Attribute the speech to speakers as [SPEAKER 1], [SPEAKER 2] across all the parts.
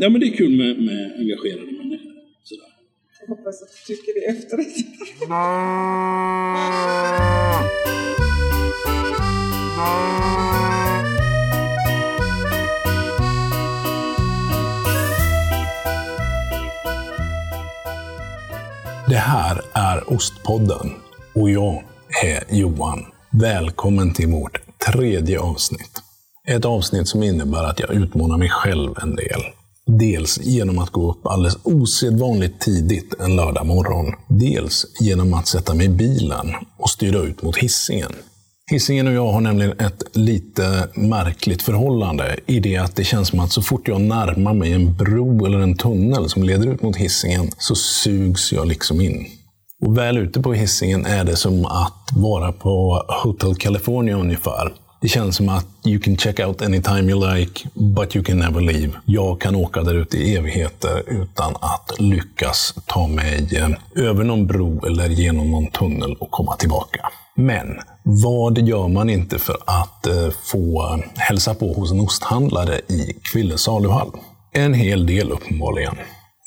[SPEAKER 1] Ja, men det är kul med, med engagerade människor. Sådär.
[SPEAKER 2] Jag hoppas att du tycker det efteråt.
[SPEAKER 3] Det här är Ostpodden och jag är Johan. Välkommen till vårt tredje avsnitt. Ett avsnitt som innebär att jag utmanar mig själv en del. Dels genom att gå upp alldeles osedvanligt tidigt en lördag morgon. Dels genom att sätta mig i bilen och styra ut mot hissingen. Hisingen och jag har nämligen ett lite märkligt förhållande i det att det känns som att så fort jag närmar mig en bro eller en tunnel som leder ut mot hissingen så sugs jag liksom in. Och väl ute på hissingen är det som att vara på Hotel California ungefär. Det känns som att you can check out anytime you like, but you can never leave. Jag kan åka där ute i evigheter utan att lyckas ta mig eh, över någon bro eller genom någon tunnel och komma tillbaka. Men vad gör man inte för att eh, få hälsa på hos en osthandlare i Kvilles saluhall? En hel del uppenbarligen.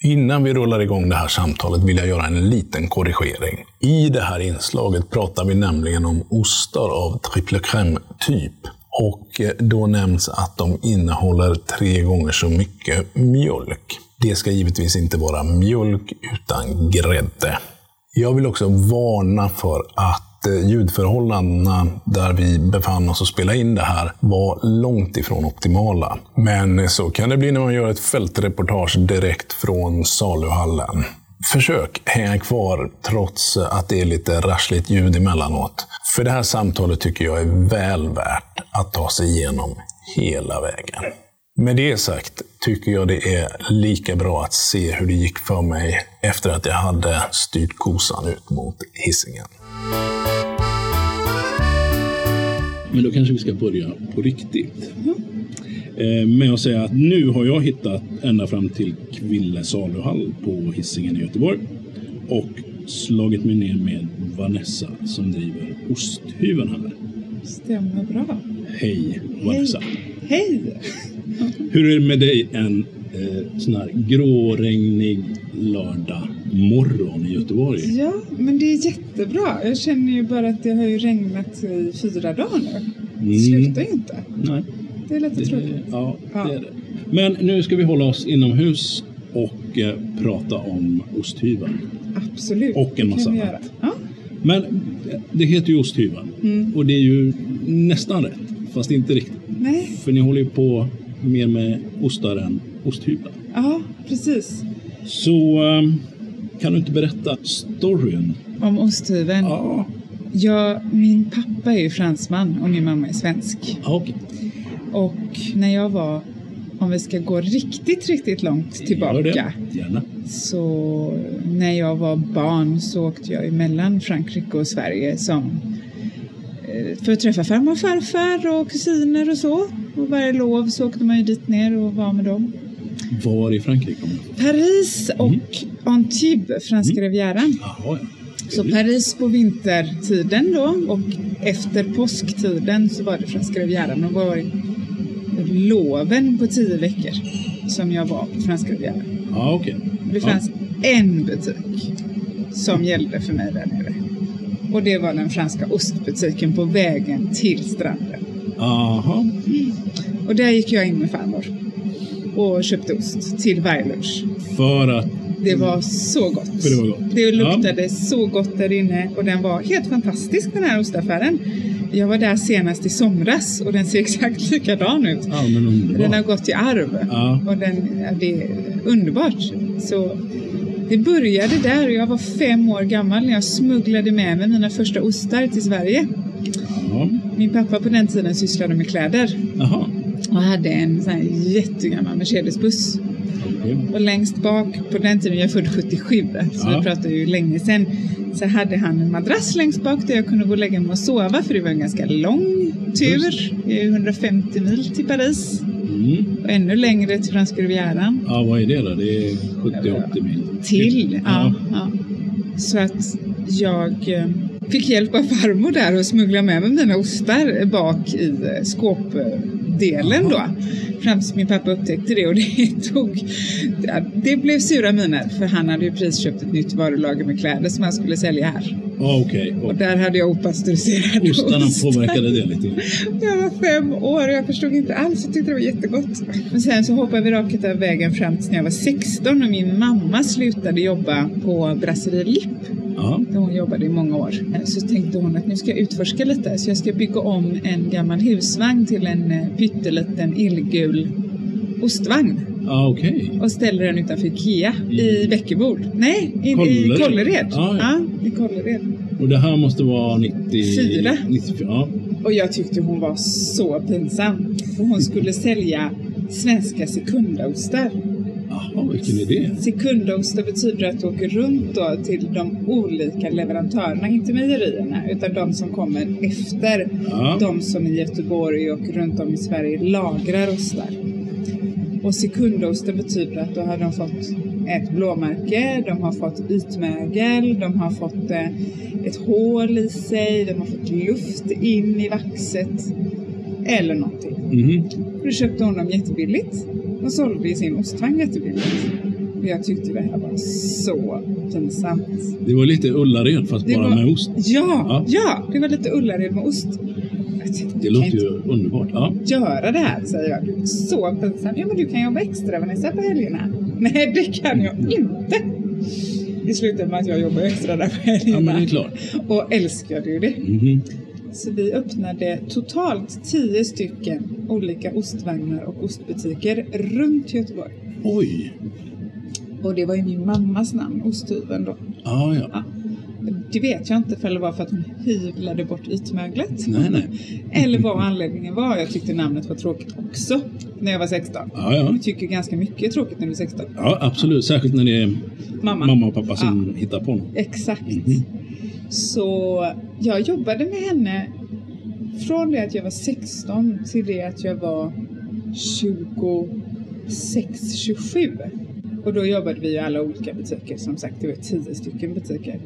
[SPEAKER 3] Innan vi rullar igång det här samtalet vill jag göra en liten korrigering. I det här inslaget pratar vi nämligen om ostar av triple crème-typ. Och eh, då nämns att de innehåller tre gånger så mycket mjölk. Det ska givetvis inte vara mjölk, utan grädde. Jag vill också varna för att eh, ljudförhållandena där vi befann oss och spelade in det här var långt ifrån optimala. Men eh, så kan det bli när man gör ett fältreportage direkt från saluhallen. Försök hänga kvar trots att det är lite rassligt ljud emellanåt. För det här samtalet tycker jag är väl värt att ta sig igenom hela vägen. Med det sagt tycker jag det är lika bra att se hur det gick för mig efter att jag hade styrt kosan ut mot hissingen.
[SPEAKER 1] Men då kanske vi ska börja på riktigt. Eh, Med att säga att nu har jag hittat ända fram till Kville saluhall på hissingen i Göteborg. Och slagit mig ner med Vanessa som driver Osthyveln här.
[SPEAKER 2] Stämmer bra.
[SPEAKER 1] Hej Vanessa!
[SPEAKER 2] Hej!
[SPEAKER 1] Hur är det med dig en eh, sån här gråregnig lördag morgon i Göteborg?
[SPEAKER 2] Ja, men det är jättebra. Jag känner ju bara att det har ju regnat i fyra dagar nu. Det slutar ju inte.
[SPEAKER 1] Nej, Eh,
[SPEAKER 2] Det är lite
[SPEAKER 1] Mm. det,
[SPEAKER 2] tråkigt.
[SPEAKER 1] ja,
[SPEAKER 2] Ja.
[SPEAKER 1] det är det. Men nu ska vi hålla oss inomhus och eh, prata om osthyveln.
[SPEAKER 2] Absolut.
[SPEAKER 1] Och en
[SPEAKER 2] det kan vi
[SPEAKER 1] massa
[SPEAKER 2] göra.
[SPEAKER 1] annat.
[SPEAKER 2] Ja,
[SPEAKER 1] Men det heter ju osthyveln
[SPEAKER 2] Mm.
[SPEAKER 1] och det är ju nästan rätt, fast inte riktigt.
[SPEAKER 2] nej.
[SPEAKER 1] För ni håller ju på mer med ostar än osthyveln.
[SPEAKER 2] Ja, precis.
[SPEAKER 1] Så eh, kan du inte berätta storyn?
[SPEAKER 2] Om osthyveln.
[SPEAKER 1] Ja,
[SPEAKER 2] Ja, min pappa är ju fransman och min mamma är svensk.
[SPEAKER 1] ah, okej.
[SPEAKER 2] Och när jag var, om vi ska gå riktigt, riktigt långt
[SPEAKER 1] Gör
[SPEAKER 2] tillbaka,
[SPEAKER 1] det. Gärna.
[SPEAKER 2] så när jag var barn så åkte jag mellan Frankrike och Sverige som eh, för att träffa farmor och farfar och kusiner och så. Och varje lov så åkte man ju dit ner och var med dem.
[SPEAKER 1] Var i Frankrike kommer du
[SPEAKER 2] Paris och Antibes, franska rivieran.
[SPEAKER 1] Jaha, ja.
[SPEAKER 2] Så Paris på vintertiden då och efter påsktiden så var det Franska Rivieran och var loven på tio veckor som jag var på Franska Rivieran.
[SPEAKER 1] Ja, okej.
[SPEAKER 2] Det fanns en butik som gällde för mig där nere. Och det var den franska ostbutiken på vägen till stranden.
[SPEAKER 1] Aha.
[SPEAKER 2] Och där gick jag in med farmor och köpte ost till varje lunch.
[SPEAKER 1] För att...
[SPEAKER 2] Det var så gott.
[SPEAKER 1] För det var gott.
[SPEAKER 2] Det luktade så gott där inne och den var helt fantastisk den här ostaffären. Jag var där senast i somras och den ser exakt likadan ut.
[SPEAKER 1] Ja, men
[SPEAKER 2] Den har
[SPEAKER 1] underbart.
[SPEAKER 2] gått i arv
[SPEAKER 1] Ja.
[SPEAKER 2] och den, ja, det är underbart. Så det började där och jag var fem år gammal när jag smugglade med mig mina första ostar till Sverige.
[SPEAKER 1] Ja.
[SPEAKER 2] Min pappa på den tiden sysslade med kläder
[SPEAKER 1] Jaha.
[SPEAKER 2] och hade en sån här jättegammal Mercedesbuss
[SPEAKER 1] Okej.
[SPEAKER 2] och längst bak, på den tiden, jag är född 77, så
[SPEAKER 1] Ja.
[SPEAKER 2] vi pratar ju länge sedan, så hade han en madrass längst bak där jag kunde gå och lägga mig och sova för det var en ganska lång tur. Det är ju 150 mil till Paris
[SPEAKER 1] Mm.
[SPEAKER 2] och ännu längre till franska rivieran.
[SPEAKER 1] Ja, vad är det då? Det är 70-80 mil.
[SPEAKER 2] Till, ja. ja. Så att jag eh, fick hjälp av farmor där och smuggla med mig mina ostar bak i eh, skåp eh, ostdelen då. Fram tills min pappa upptäckte det och det tog... Det blev sura miner för han hade ju precis köpt ett nytt varulager med kläder som han skulle sälja här.
[SPEAKER 1] Ja, okej.
[SPEAKER 2] Och där hade jag opastöriserad
[SPEAKER 1] Ostarna
[SPEAKER 2] ost.
[SPEAKER 1] påverkade det lite.
[SPEAKER 2] Jag var fem år och jag förstod inte alls. Jag tyckte det var jättegott. Men sen så hoppade vi rakt av vägen fram tills när jag var 16 och min mamma slutade jobba på Brasserie Lipp
[SPEAKER 1] Ja.
[SPEAKER 2] där hon jobbade i många år. Så tänkte hon att nu ska jag utforska lite så jag ska bygga om en gammal husvagn till en eh, pytteliten illgul ostvagn
[SPEAKER 1] Ja, okej.
[SPEAKER 2] och ställer den utanför Ikea i Bäckebord. Nej, i
[SPEAKER 1] Kållered.
[SPEAKER 2] i Kållered.
[SPEAKER 1] Mm. Ah, ja.
[SPEAKER 2] ja, i Kållered.
[SPEAKER 1] Och det här måste vara 90...
[SPEAKER 2] Fyra.
[SPEAKER 1] 94. Ja.
[SPEAKER 2] Och jag tyckte hon var så pinsam. För hon skulle sälja svenska sekundaostar.
[SPEAKER 1] Jaha, vilken idé.
[SPEAKER 2] Sekundaostar betyder att du åker runt då till de olika leverantörerna, inte mejerierna, utan de som kommer efter.
[SPEAKER 1] Ja.
[SPEAKER 2] De som i Göteborg och runt om i Sverige lagrar ostar. Och sekundosten betyder att då har de fått ett blåmärke, de har fått ytmögel, de har fått eh, ett hål i sig, de har fått luft in i vaxet eller någonting.
[SPEAKER 1] Mhm.
[SPEAKER 2] Då köpte hon dem jättebilligt och sålde i sin ostvagn jättebilligt. Och jag tyckte det här var så pinsamt.
[SPEAKER 1] Det var lite Ullared fast
[SPEAKER 2] Det
[SPEAKER 1] bara
[SPEAKER 2] var-
[SPEAKER 1] med ost. Ja.
[SPEAKER 2] Ja, ja, det var lite Ullared med ost. Jag tänkte,
[SPEAKER 1] Det
[SPEAKER 2] kan
[SPEAKER 1] låter
[SPEAKER 2] inte
[SPEAKER 1] ju underbart. Ja.
[SPEAKER 2] göra det här, säger jag. Du är så pinsam. Ja, men du kan jobba extra, Vanessa, på helgerna. Nej, det kan jag inte. Det slutade med att jag jobbar extra där på
[SPEAKER 1] ja, men
[SPEAKER 2] helgerna.
[SPEAKER 1] det är klart.
[SPEAKER 2] och älskade ju det.
[SPEAKER 1] Mhm.
[SPEAKER 2] Så vi öppnade totalt tio stycken olika ostvagnar och ostbutiker runt Göteborg.
[SPEAKER 1] Oj!
[SPEAKER 2] Och det var ju min mammas namn, osthyveln då.
[SPEAKER 1] Ja, ja.
[SPEAKER 2] Ja. Det vet jag inte för det var för att hon hyvlade bort ytmöglet.
[SPEAKER 1] Nej, nej.
[SPEAKER 2] Eller vad anledningen var. Jag tyckte namnet var tråkigt också när jag var 16.
[SPEAKER 1] Ja, ja.
[SPEAKER 2] Jag tycker ganska mycket är tråkigt när du är 16.
[SPEAKER 1] Ja, absolut. Särskilt när det är
[SPEAKER 2] Mamma.
[SPEAKER 1] mamma och pappa som hittar på något.
[SPEAKER 2] Exakt.
[SPEAKER 1] Mhm.
[SPEAKER 2] Så jag jobbade med henne från det att jag var 16 till det att jag var 26, 27. Och då jobbade vi i alla olika butiker. Som sagt, det var tio stycken butiker.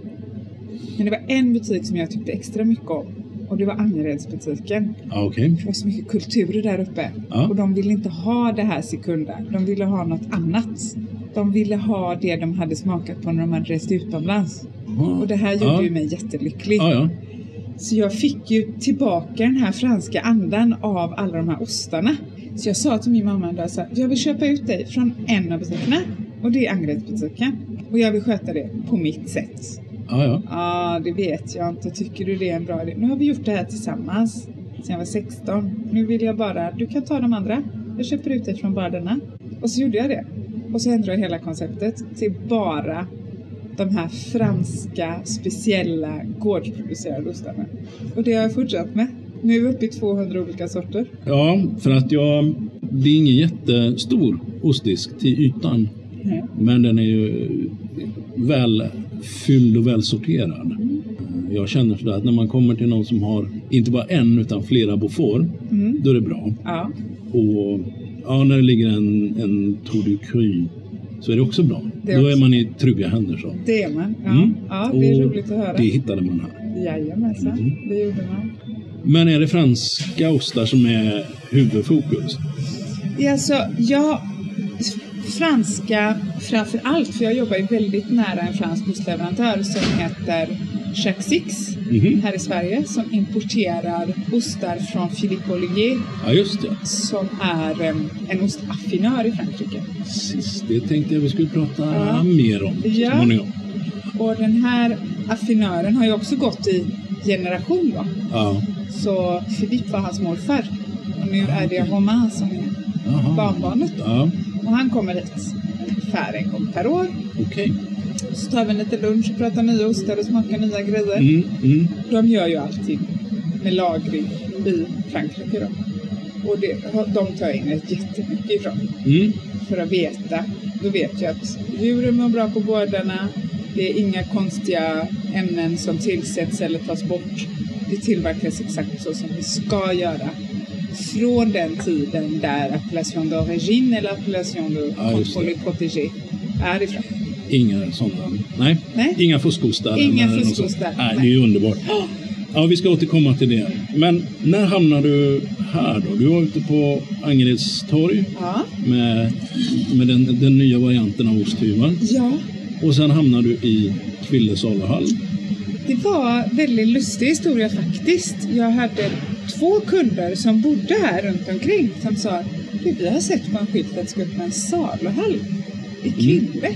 [SPEAKER 2] Men det var en butik som jag tyckte extra mycket om. Och det var Angeredsbutiken.
[SPEAKER 1] Ja, okej.
[SPEAKER 2] Det var så mycket kulturer där uppe.
[SPEAKER 1] Ja.
[SPEAKER 2] Och de ville inte ha det här sekunda. De ville ha något annat. De ville ha det de hade smakat på när de hade rest utomlands. Och det här gjorde
[SPEAKER 1] ja.
[SPEAKER 2] ju mig jättelycklig.
[SPEAKER 1] Ja, ja.
[SPEAKER 2] Så jag fick ju tillbaka den här franska andan av alla de här ostarna. Så jag sa till min mamma en dag så här, jag vill köpa ut dig från en av butikerna. Och det är Angeredsbutiken. Och jag vill sköta det på mitt sätt.
[SPEAKER 1] Ja, ja.
[SPEAKER 2] Ja, det vet jag inte. Tycker du det är en bra idé? Nu har vi gjort det här tillsammans sen jag var 16. Nu vill jag bara, du kan ta de andra. Jag köper ut dig från bara denna. Och så gjorde jag det. Och så ändrade jag hela konceptet till bara de här franska, speciella, gårdsproducerade ostarna. Och det har jag fortsatt med. Nu är vi uppe i 200 olika sorter.
[SPEAKER 1] Ja, för att jag... Det är ingen jättestor ostdisk till ytan.
[SPEAKER 2] Nej.
[SPEAKER 1] Men den är ju väl fylld och väl sorterad. Jag känner sådär att när man kommer till någon som har inte bara en utan flera beaufort,
[SPEAKER 2] Mm.
[SPEAKER 1] då är det bra.
[SPEAKER 2] Ja.
[SPEAKER 1] Och ja, när det ligger en, en Tour du Cru så är det också bra.
[SPEAKER 2] Det är
[SPEAKER 1] då är
[SPEAKER 2] också-
[SPEAKER 1] man i trygga händer. Så.
[SPEAKER 2] Det är man. Ja,
[SPEAKER 1] Mm.
[SPEAKER 2] ja det är
[SPEAKER 1] Och
[SPEAKER 2] roligt att höra.
[SPEAKER 1] Det hittade man här.
[SPEAKER 2] Jajamensan,
[SPEAKER 1] Mm.
[SPEAKER 2] det gjorde man.
[SPEAKER 1] Men är det franska ostar som är huvudfokus?
[SPEAKER 2] Det är alltså, jag... Franska framför allt, för jag jobbar ju väldigt nära en fransk ostleverantör som heter Jacques Six
[SPEAKER 1] Mhm.
[SPEAKER 2] här i Sverige som importerar ostar från Philippe Olivier
[SPEAKER 1] Ja, just det.
[SPEAKER 2] som är em, en ostaffinör i Frankrike.
[SPEAKER 1] Precis, det tänkte jag vi skulle prata
[SPEAKER 2] Ja.
[SPEAKER 1] mer om så
[SPEAKER 2] Ja.
[SPEAKER 1] småningom.
[SPEAKER 2] Och den här affinören har ju också gått i generation då.
[SPEAKER 1] Ja.
[SPEAKER 2] Så Philippe var hans morfar och nu är det Romain som är
[SPEAKER 1] Aha.
[SPEAKER 2] barnbarnet.
[SPEAKER 1] Ja,
[SPEAKER 2] Och han kommer hit ungefär en gång per år
[SPEAKER 1] okej.
[SPEAKER 2] Så tar vi en liten lunch, pratar nya ostar och smakar nya grejer.
[SPEAKER 1] Mm, mm.
[SPEAKER 2] De gör ju allting med lagring i Frankrike då. Och det, de tar jag in rätt jättemycket ifrån
[SPEAKER 1] Mm.
[SPEAKER 2] för att veta. Då vet jag att djuren mår bra på gårdarna. Det är inga konstiga ämnen som tillsätts eller tas bort. Det tillverkas exakt så som det ska göra. Från den tiden där appellation d'origine eller appellation de
[SPEAKER 1] Ja, just det.
[SPEAKER 2] contrôle protégé är ifrån.
[SPEAKER 1] Inga sådana. Nej.
[SPEAKER 2] Nej.
[SPEAKER 1] Inga fuskostar.
[SPEAKER 2] Inga
[SPEAKER 1] eller något
[SPEAKER 2] fuskostar.
[SPEAKER 1] sånt. Nej, det är ju underbart. Ja, vi ska återkomma till det. Men när hamnar du här då. Du var ute på Angereds torg
[SPEAKER 2] Ja.
[SPEAKER 1] med, med den, den nya varianten av osthyveln.
[SPEAKER 2] Ja.
[SPEAKER 1] Och sen hamnade du i Kvilles saluhall.
[SPEAKER 2] Det var en väldigt lustig historia faktiskt. Jag hade två kunder som bodde här runt omkring som sa "Du, vi har sett på en skylt att det ska öppna en saluhall i Kville.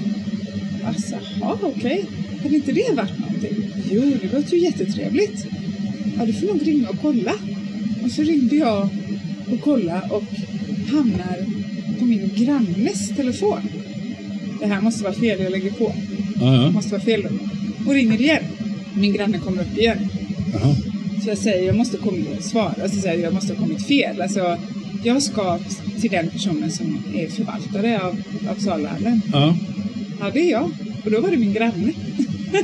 [SPEAKER 2] Alltså, ja okej. Hade inte det varit någonting? Jo, det låter ju jättetrevligt. Ja, du får nog ringa och kolla. Och så ringde jag och kollade och hamnar på min grannes telefon. Det här måste vara fel, jag lägger på.
[SPEAKER 1] Ja, ja.
[SPEAKER 2] Måste vara fel då. Och ringer igen. Min granne kommer upp igen.
[SPEAKER 1] Jaha.
[SPEAKER 2] Så jag säger, jag måste komma svara. Alltså, Så säger jag, jag måste ha kommit fel. Alltså, jag ska t- till den personen som är förvaltare av, av saluhallen.
[SPEAKER 1] Ja.
[SPEAKER 2] Ja, det är jag. Och då var det min granne.
[SPEAKER 1] Ja,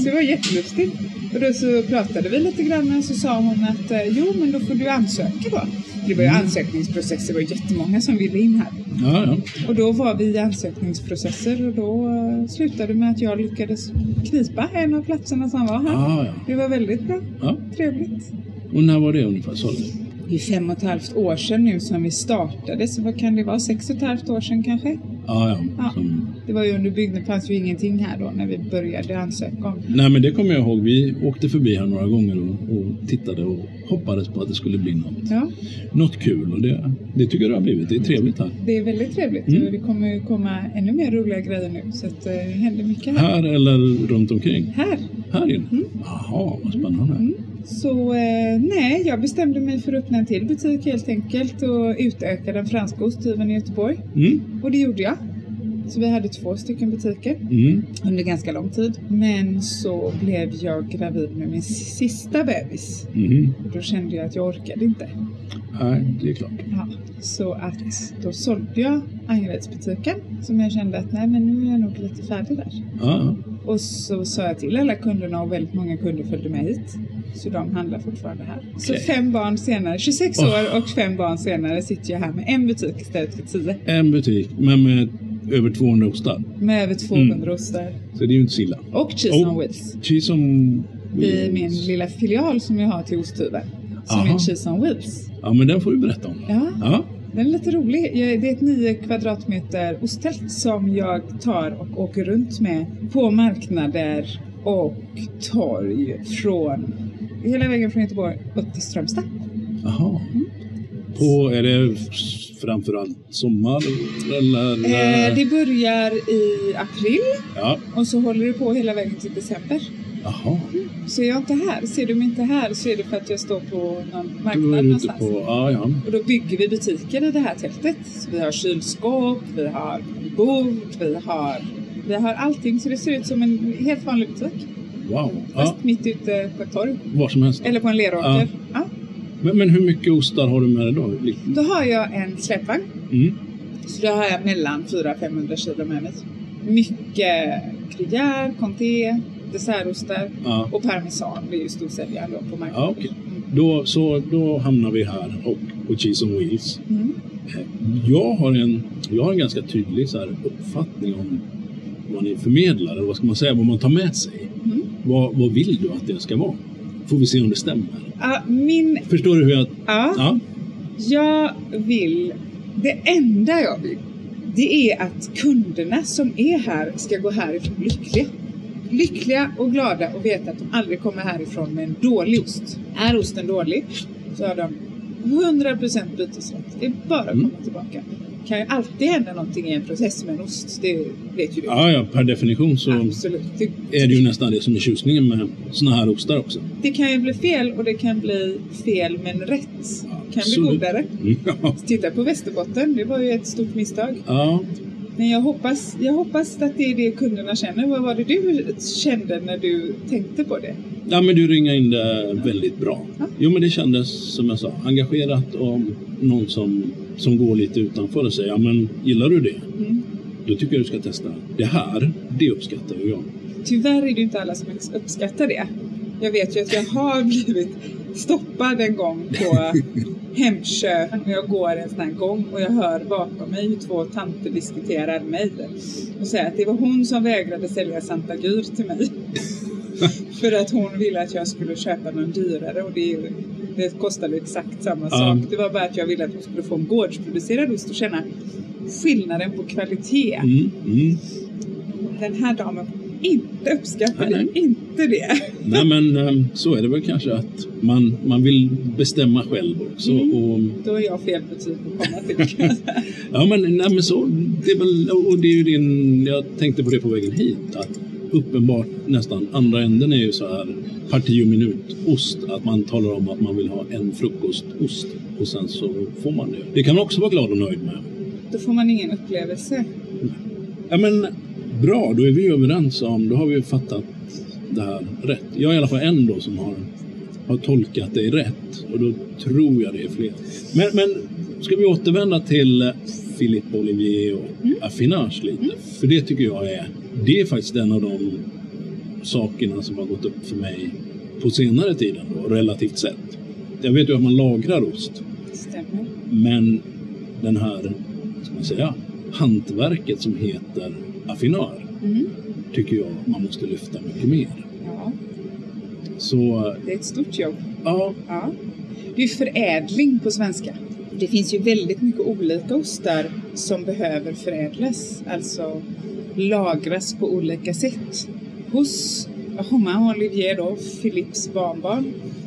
[SPEAKER 2] Så
[SPEAKER 1] ja.
[SPEAKER 2] det var jättelustigt. Och då så pratade vi lite grann och så sa hon att eh, jo, men då får du ansöka då. Det var ju ansökningsprocesser, det var jättemånga som ville in här.
[SPEAKER 1] ja, ja.
[SPEAKER 2] Och då var vi i ansökningsprocesser och då eh, slutade med att jag lyckades knipa en av platserna som var här.
[SPEAKER 1] Ja, ja.
[SPEAKER 2] Det var väldigt bra.
[SPEAKER 1] ja.
[SPEAKER 2] Trevligt.
[SPEAKER 1] Och när var det ungefär? Sa du?
[SPEAKER 2] Det är fem och ett halvt år sedan nu som vi startade, så vad kan det vara? Sex och ett halvt år sedan kanske?
[SPEAKER 1] Ja, ja.
[SPEAKER 2] Ja.
[SPEAKER 1] Som,
[SPEAKER 2] Det var ju under byggnaden, fanns ju ingenting här då när vi började ansöka om.
[SPEAKER 1] Nej men det kommer jag ihåg. Vi åkte förbi här några gånger och, och tittade och hoppades på att det skulle bli något,
[SPEAKER 2] Ja,
[SPEAKER 1] något kul. Och det, det tycker jag det har blivit. Det är trevligt här.
[SPEAKER 2] det är väldigt trevligt
[SPEAKER 1] Mm.
[SPEAKER 2] och det kommer ju komma ännu mer roliga grejer nu, så att eh, det händer mycket här.
[SPEAKER 1] Här eller runt omkring?
[SPEAKER 2] Här!
[SPEAKER 1] Här inne? Jaha, vad spännande.
[SPEAKER 2] Mm. Så eh, nej, jag bestämde mig för att öppna en till butik helt enkelt och utöka den franska osthyveln i Göteborg.
[SPEAKER 1] Mm.
[SPEAKER 2] Och det gjorde jag. Så vi hade två stycken butiker.
[SPEAKER 1] Mm.
[SPEAKER 2] under ganska lång tid. Men så blev jag gravid med min sista bebis.
[SPEAKER 1] Mm.
[SPEAKER 2] Då kände jag att jag orkade inte.
[SPEAKER 1] Nej, det är klart.
[SPEAKER 2] Så att då sålde jag Angeredsbutiken som jag kände att nej men nu är jag nog lite färdig där.
[SPEAKER 1] Ja,
[SPEAKER 2] Och så sa jag till alla kunderna och väldigt många kunder följde med hit. Så de handlar fortfarande här. Så
[SPEAKER 1] Okej.
[SPEAKER 2] fem barn senare, 26
[SPEAKER 1] Oh.
[SPEAKER 2] år och fem barn senare sitter jag här med en butik istället för tio.
[SPEAKER 1] ja. En butik, men med över 200 ostar.
[SPEAKER 2] Med över 200 ostar.
[SPEAKER 1] Så det är ju inte så illa.
[SPEAKER 2] Och cheese
[SPEAKER 1] Mm. Oh.
[SPEAKER 2] on wheels.
[SPEAKER 1] Cheese on
[SPEAKER 2] i min
[SPEAKER 1] wheels.
[SPEAKER 2] lilla filial som jag har till osthyveln. Som
[SPEAKER 1] Aha.
[SPEAKER 2] är Cheese on Wheels.
[SPEAKER 1] Ja, men den får du berätta om.
[SPEAKER 2] Ja,
[SPEAKER 1] Ja.
[SPEAKER 2] den är lite rolig. Jag- Det är ett 9 kvadratmeter osttält som jag tar och åker runt med på marknader och torg från hela vägen från Göteborg upp till Strömstad.
[SPEAKER 1] Jaha.
[SPEAKER 2] Mm.
[SPEAKER 1] På, är det f- framförallt sommar eller?
[SPEAKER 2] Eh, det börjar i april
[SPEAKER 1] Ja,
[SPEAKER 2] och så håller det på hela vägen till december.
[SPEAKER 1] jaha.
[SPEAKER 2] Så är jag inte här, ser du mig inte här så är det för att jag står på någon
[SPEAKER 1] Då är
[SPEAKER 2] marknad
[SPEAKER 1] du ute
[SPEAKER 2] någonstans.
[SPEAKER 1] på, ja, ja.
[SPEAKER 2] Och då bygger vi butiken i det här tältet. Så vi har kylskåp, vi har bord, vi har, vi har allting. Så det ser ut som en helt vanlig butik.
[SPEAKER 1] Wow.
[SPEAKER 2] Fast
[SPEAKER 1] Ja,
[SPEAKER 2] mitt ute på ett torg.
[SPEAKER 1] var som helst.
[SPEAKER 2] Eller på en leråker. Ja.
[SPEAKER 1] Men, men hur mycket ostar har du med dig då? Lite-
[SPEAKER 2] Då har jag en släpvagn.
[SPEAKER 1] Mm.
[SPEAKER 2] Så då har jag mellan 400-500 kilo med mig. Mycket gruyère, comté, dessertostar
[SPEAKER 1] Ja,
[SPEAKER 2] och parmesan. Det är ju storsäljaren då på marknaden.
[SPEAKER 1] ja okej. Då, så, då hamnar vi här och på Cheese on Wheels.
[SPEAKER 2] Mm.
[SPEAKER 1] Jag har en, jag har en ganska tydlig så här, uppfattning om vad ni förmedlar, eller vad ska man säga, vad man tar med sig.
[SPEAKER 2] Mm.
[SPEAKER 1] Vad, vad vill du att det ska vara? Får vi se om det stämmer.
[SPEAKER 2] Ja, min...
[SPEAKER 1] Förstår du hur jag...
[SPEAKER 2] Ja.
[SPEAKER 1] Ja.
[SPEAKER 2] Jag vill, det enda jag vill, det är att kunderna som är här ska gå härifrån lyckliga. Lyckliga och glada och veta att de aldrig kommer härifrån med en dålig ost. Är osten dålig så har de 100% bytesrätt. Det är bara att
[SPEAKER 1] Mm.
[SPEAKER 2] komma tillbaka. Det kan ju alltid hända någonting i en process med en ost, det vet ju du.
[SPEAKER 1] Ja, ja, per definition så
[SPEAKER 2] Absolut. Det,
[SPEAKER 1] är det ju nästan det som är tjusningen med såna här ostar också.
[SPEAKER 2] det kan ju bli fel och det kan bli fel men rätt. kan bli
[SPEAKER 1] Absolut.
[SPEAKER 2] godare.
[SPEAKER 1] Ja.
[SPEAKER 2] Titta på Västerbotten, det var ju ett stort misstag.
[SPEAKER 1] Mm. Ja,
[SPEAKER 2] Men jag hoppas, jag hoppas att det är det kunderna känner. Vad var det du kände när du tänkte på det?
[SPEAKER 1] Ja, men du ringade in det väldigt bra.
[SPEAKER 2] Ja.
[SPEAKER 1] Jo, men det kändes som jag sa, engagerat och någon som, som går lite utanför och säger, ja men gillar du det?
[SPEAKER 2] Mm.
[SPEAKER 1] Då tycker jag du ska testa det här. Det uppskattar ju jag.
[SPEAKER 2] Tyvärr är det inte alla som uppskattar det. Jag vet ju att jag har blivit stoppad en gång på Hemköp när jag går en sån här gång och jag hör bakom mig hur två tanter diskuterar mig och säger att det var hon som vägrade sälja Santa Gur till mig. För att hon ville att jag skulle köpa någon dyrare och det, det kostade exakt samma
[SPEAKER 1] Ja.
[SPEAKER 2] sak. Det var bara att jag ville att hon skulle få en gårdsproducerad ost och känna skillnaden på kvalitet.
[SPEAKER 1] Mm, mm.
[SPEAKER 2] Den här damen inte uppskattade
[SPEAKER 1] Nej,
[SPEAKER 2] inte det.
[SPEAKER 1] Nej men eh, så är det väl kanske att man, man vill bestämma själv också.
[SPEAKER 2] Mm.
[SPEAKER 1] Och,
[SPEAKER 2] Då är jag fel butik att komma till. kan jag säga.
[SPEAKER 1] ja men, nej, men så, det är väl, och det är ju din, jag tänkte på det på vägen hit, att uppenbart nästan andra änden är ju så här parti och minutost, att man talar om att man vill ha en frukostost och sen så får man det. Det kan man också vara glad och nöjd med.
[SPEAKER 2] Då får man ingen upplevelse.
[SPEAKER 1] Ja men bra, då är vi överens om, då har vi fattat det här rätt. Jag är i alla fall en då som har, har tolkat dig rätt och då tror jag det är fler. Men, men ska vi återvända till Philippe Olivier och affinage lite? För det tycker jag är, det är faktiskt en av de sakerna som har gått upp för mig på senare tiden då, relativt sett. Jag vet ju att man lagrar ost.
[SPEAKER 2] Stämmer.
[SPEAKER 1] Men den här, ska man säga, hantverket som heter affinör
[SPEAKER 2] Mm.
[SPEAKER 1] tycker jag man måste lyfta mycket mer.
[SPEAKER 2] Ja,
[SPEAKER 1] Så
[SPEAKER 2] det är ett stort jobb.
[SPEAKER 1] ja,
[SPEAKER 2] Ja. Det är förädling på svenska. Det finns ju väldigt mycket olika ostar som behöver förädlas, alltså lagras på olika sätt. Hos Romain Olivier då, Philips barnbarn,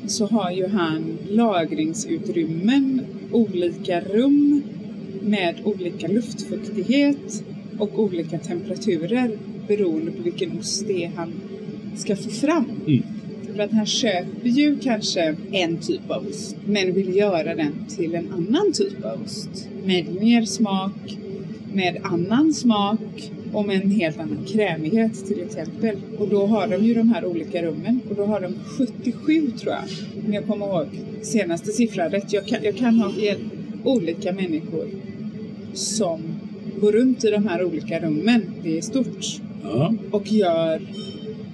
[SPEAKER 2] så har ju han lagringsutrymmen, olika rum med olika luftfuktighet och olika temperaturer beroende på vilken ost det är han ska få fram.
[SPEAKER 1] Mm.
[SPEAKER 2] För att han köper ju kanske en typ av ost, men vill göra den till en annan typ av ost. Med mer smak, med annan smak och med en helt annan krämighet till exempel. Och då har de ju de här olika rummen och då har de 77 tror jag, om jag kommer ihåg senaste siffran rätt. Jag kan, jag kan ha fel. Olika människor som går runt i de här olika rummen. Det är stort
[SPEAKER 1] ja,
[SPEAKER 2] och gör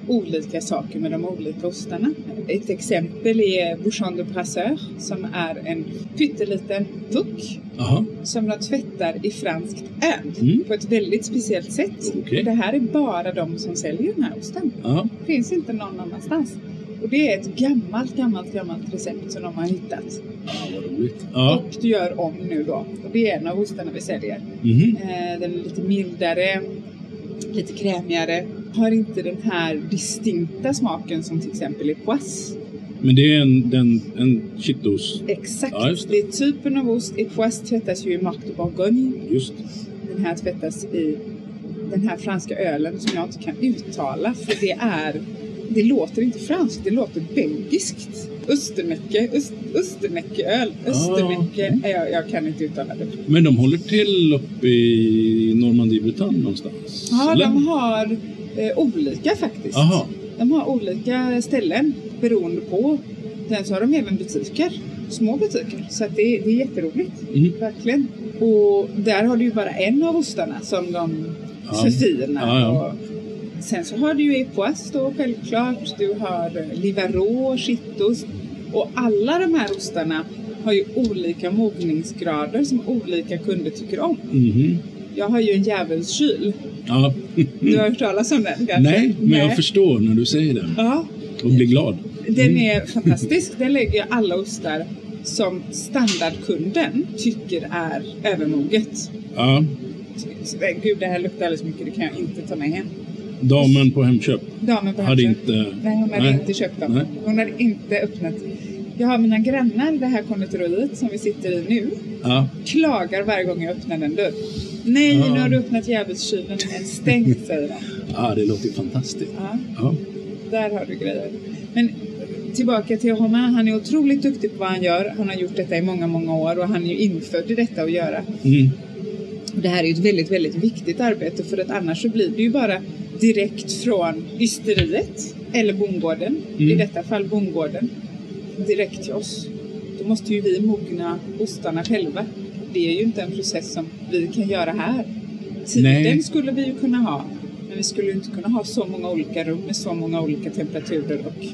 [SPEAKER 2] olika saker med de olika ostarna. Ett exempel är Bouchon de Brasseur som är en pytteliten puck
[SPEAKER 1] aha,
[SPEAKER 2] som de tvättar i franskt öl
[SPEAKER 1] Mm.
[SPEAKER 2] på ett väldigt speciellt sätt.
[SPEAKER 1] Okej.
[SPEAKER 2] Och det här är bara de som säljer den här osten.
[SPEAKER 1] ja,
[SPEAKER 2] Det finns inte någon annanstans. Och det är ett gammalt, gammalt, gammalt recept som de har hittat.
[SPEAKER 1] ja, vad roligt. Ja,
[SPEAKER 2] Och du gör om nu då. Och det är en av ostarna vi säljer.
[SPEAKER 1] mhm,
[SPEAKER 2] Eh, Den är lite mildare, lite krämigare. Har inte den här distinkta smaken som till exempel i poisse.
[SPEAKER 1] men det är en, den, en chittost,
[SPEAKER 2] Exakt.
[SPEAKER 1] Ja, just det.
[SPEAKER 2] det är typen av ost. I poisse tvättas ju i Marc de Bourgogne.
[SPEAKER 1] just.
[SPEAKER 2] Den här tvättas i den här franska ölen som jag inte kan uttala för det är... Det låter inte franskt, det låter belgiskt. Östermäcke, öst, Östermäckeöl,
[SPEAKER 1] Ah,
[SPEAKER 2] Östermäcke. jag, jag kan inte uttala det.
[SPEAKER 1] Men de håller till uppe i normandie bretagne någonstans?
[SPEAKER 2] Ja,
[SPEAKER 1] eller?
[SPEAKER 2] de har eh, olika faktiskt.
[SPEAKER 1] Aha,
[SPEAKER 2] De har olika ställen beroende på. Sen så har de även butiker, små butiker. Så att det, det är jätteroligt,
[SPEAKER 1] mm,
[SPEAKER 2] verkligen. Och där har du ju bara en av ostarna som de
[SPEAKER 1] Ja.
[SPEAKER 2] förfinar.
[SPEAKER 1] Ja, ja.
[SPEAKER 2] Och sen så har du ju Epoas då självklart. Du har eh, Livaro, Chittost. Och alla de här ostarna har ju olika mogningsgrader som olika kunder tycker om.
[SPEAKER 1] mhm,
[SPEAKER 2] Jag har ju en djävulskyl.
[SPEAKER 1] ja.
[SPEAKER 2] Du har hört talas om den kanske?
[SPEAKER 1] Mm. Nej, men jag förstår när du säger det
[SPEAKER 2] Ja,
[SPEAKER 1] och blir glad.
[SPEAKER 2] den är fantastisk. Den lägger jag alla ostar som standardkunden tycker är övermoget.
[SPEAKER 1] Ja,
[SPEAKER 2] Så, eh, Gud, det här luktar alldeles mycket. Det kan jag inte ta med hem.
[SPEAKER 1] damen på Hemköp
[SPEAKER 2] Damen på
[SPEAKER 1] hade
[SPEAKER 2] Hemköp.
[SPEAKER 1] inte...
[SPEAKER 2] Nej, hon hade inte köpt dem.
[SPEAKER 1] Nej.
[SPEAKER 2] Hon hade inte öppnat. Jag har mina grannar, det här konditoriet som vi sitter i nu,
[SPEAKER 1] Ja,
[SPEAKER 2] klagar varje gång jag öppnar den dörr. Nej,
[SPEAKER 1] Ja.
[SPEAKER 2] nu har du öppnat djävulskylen. Den är stängd, säger de.
[SPEAKER 1] ja, det låter ju fantastiskt.
[SPEAKER 2] Ja.
[SPEAKER 1] Ja.
[SPEAKER 2] Där har du grejer. Men tillbaka till Homer. Han är otroligt duktig på vad han gör. Han har gjort detta i många, många år och han är ju infödd i detta att göra.
[SPEAKER 1] Mm.
[SPEAKER 2] Och Det här är ju ett väldigt, väldigt viktigt arbete för att annars så blir det ju bara direkt från ysteriet eller bondgården,
[SPEAKER 1] Mm.
[SPEAKER 2] i detta fall bondgården, direkt till oss. Då måste ju vi mogna ostarna själva. Det är ju inte en process som vi kan göra här. Tiden
[SPEAKER 1] Nej.
[SPEAKER 2] skulle vi ju kunna ha, men vi skulle ju inte kunna ha så många olika rum med så många olika temperaturer och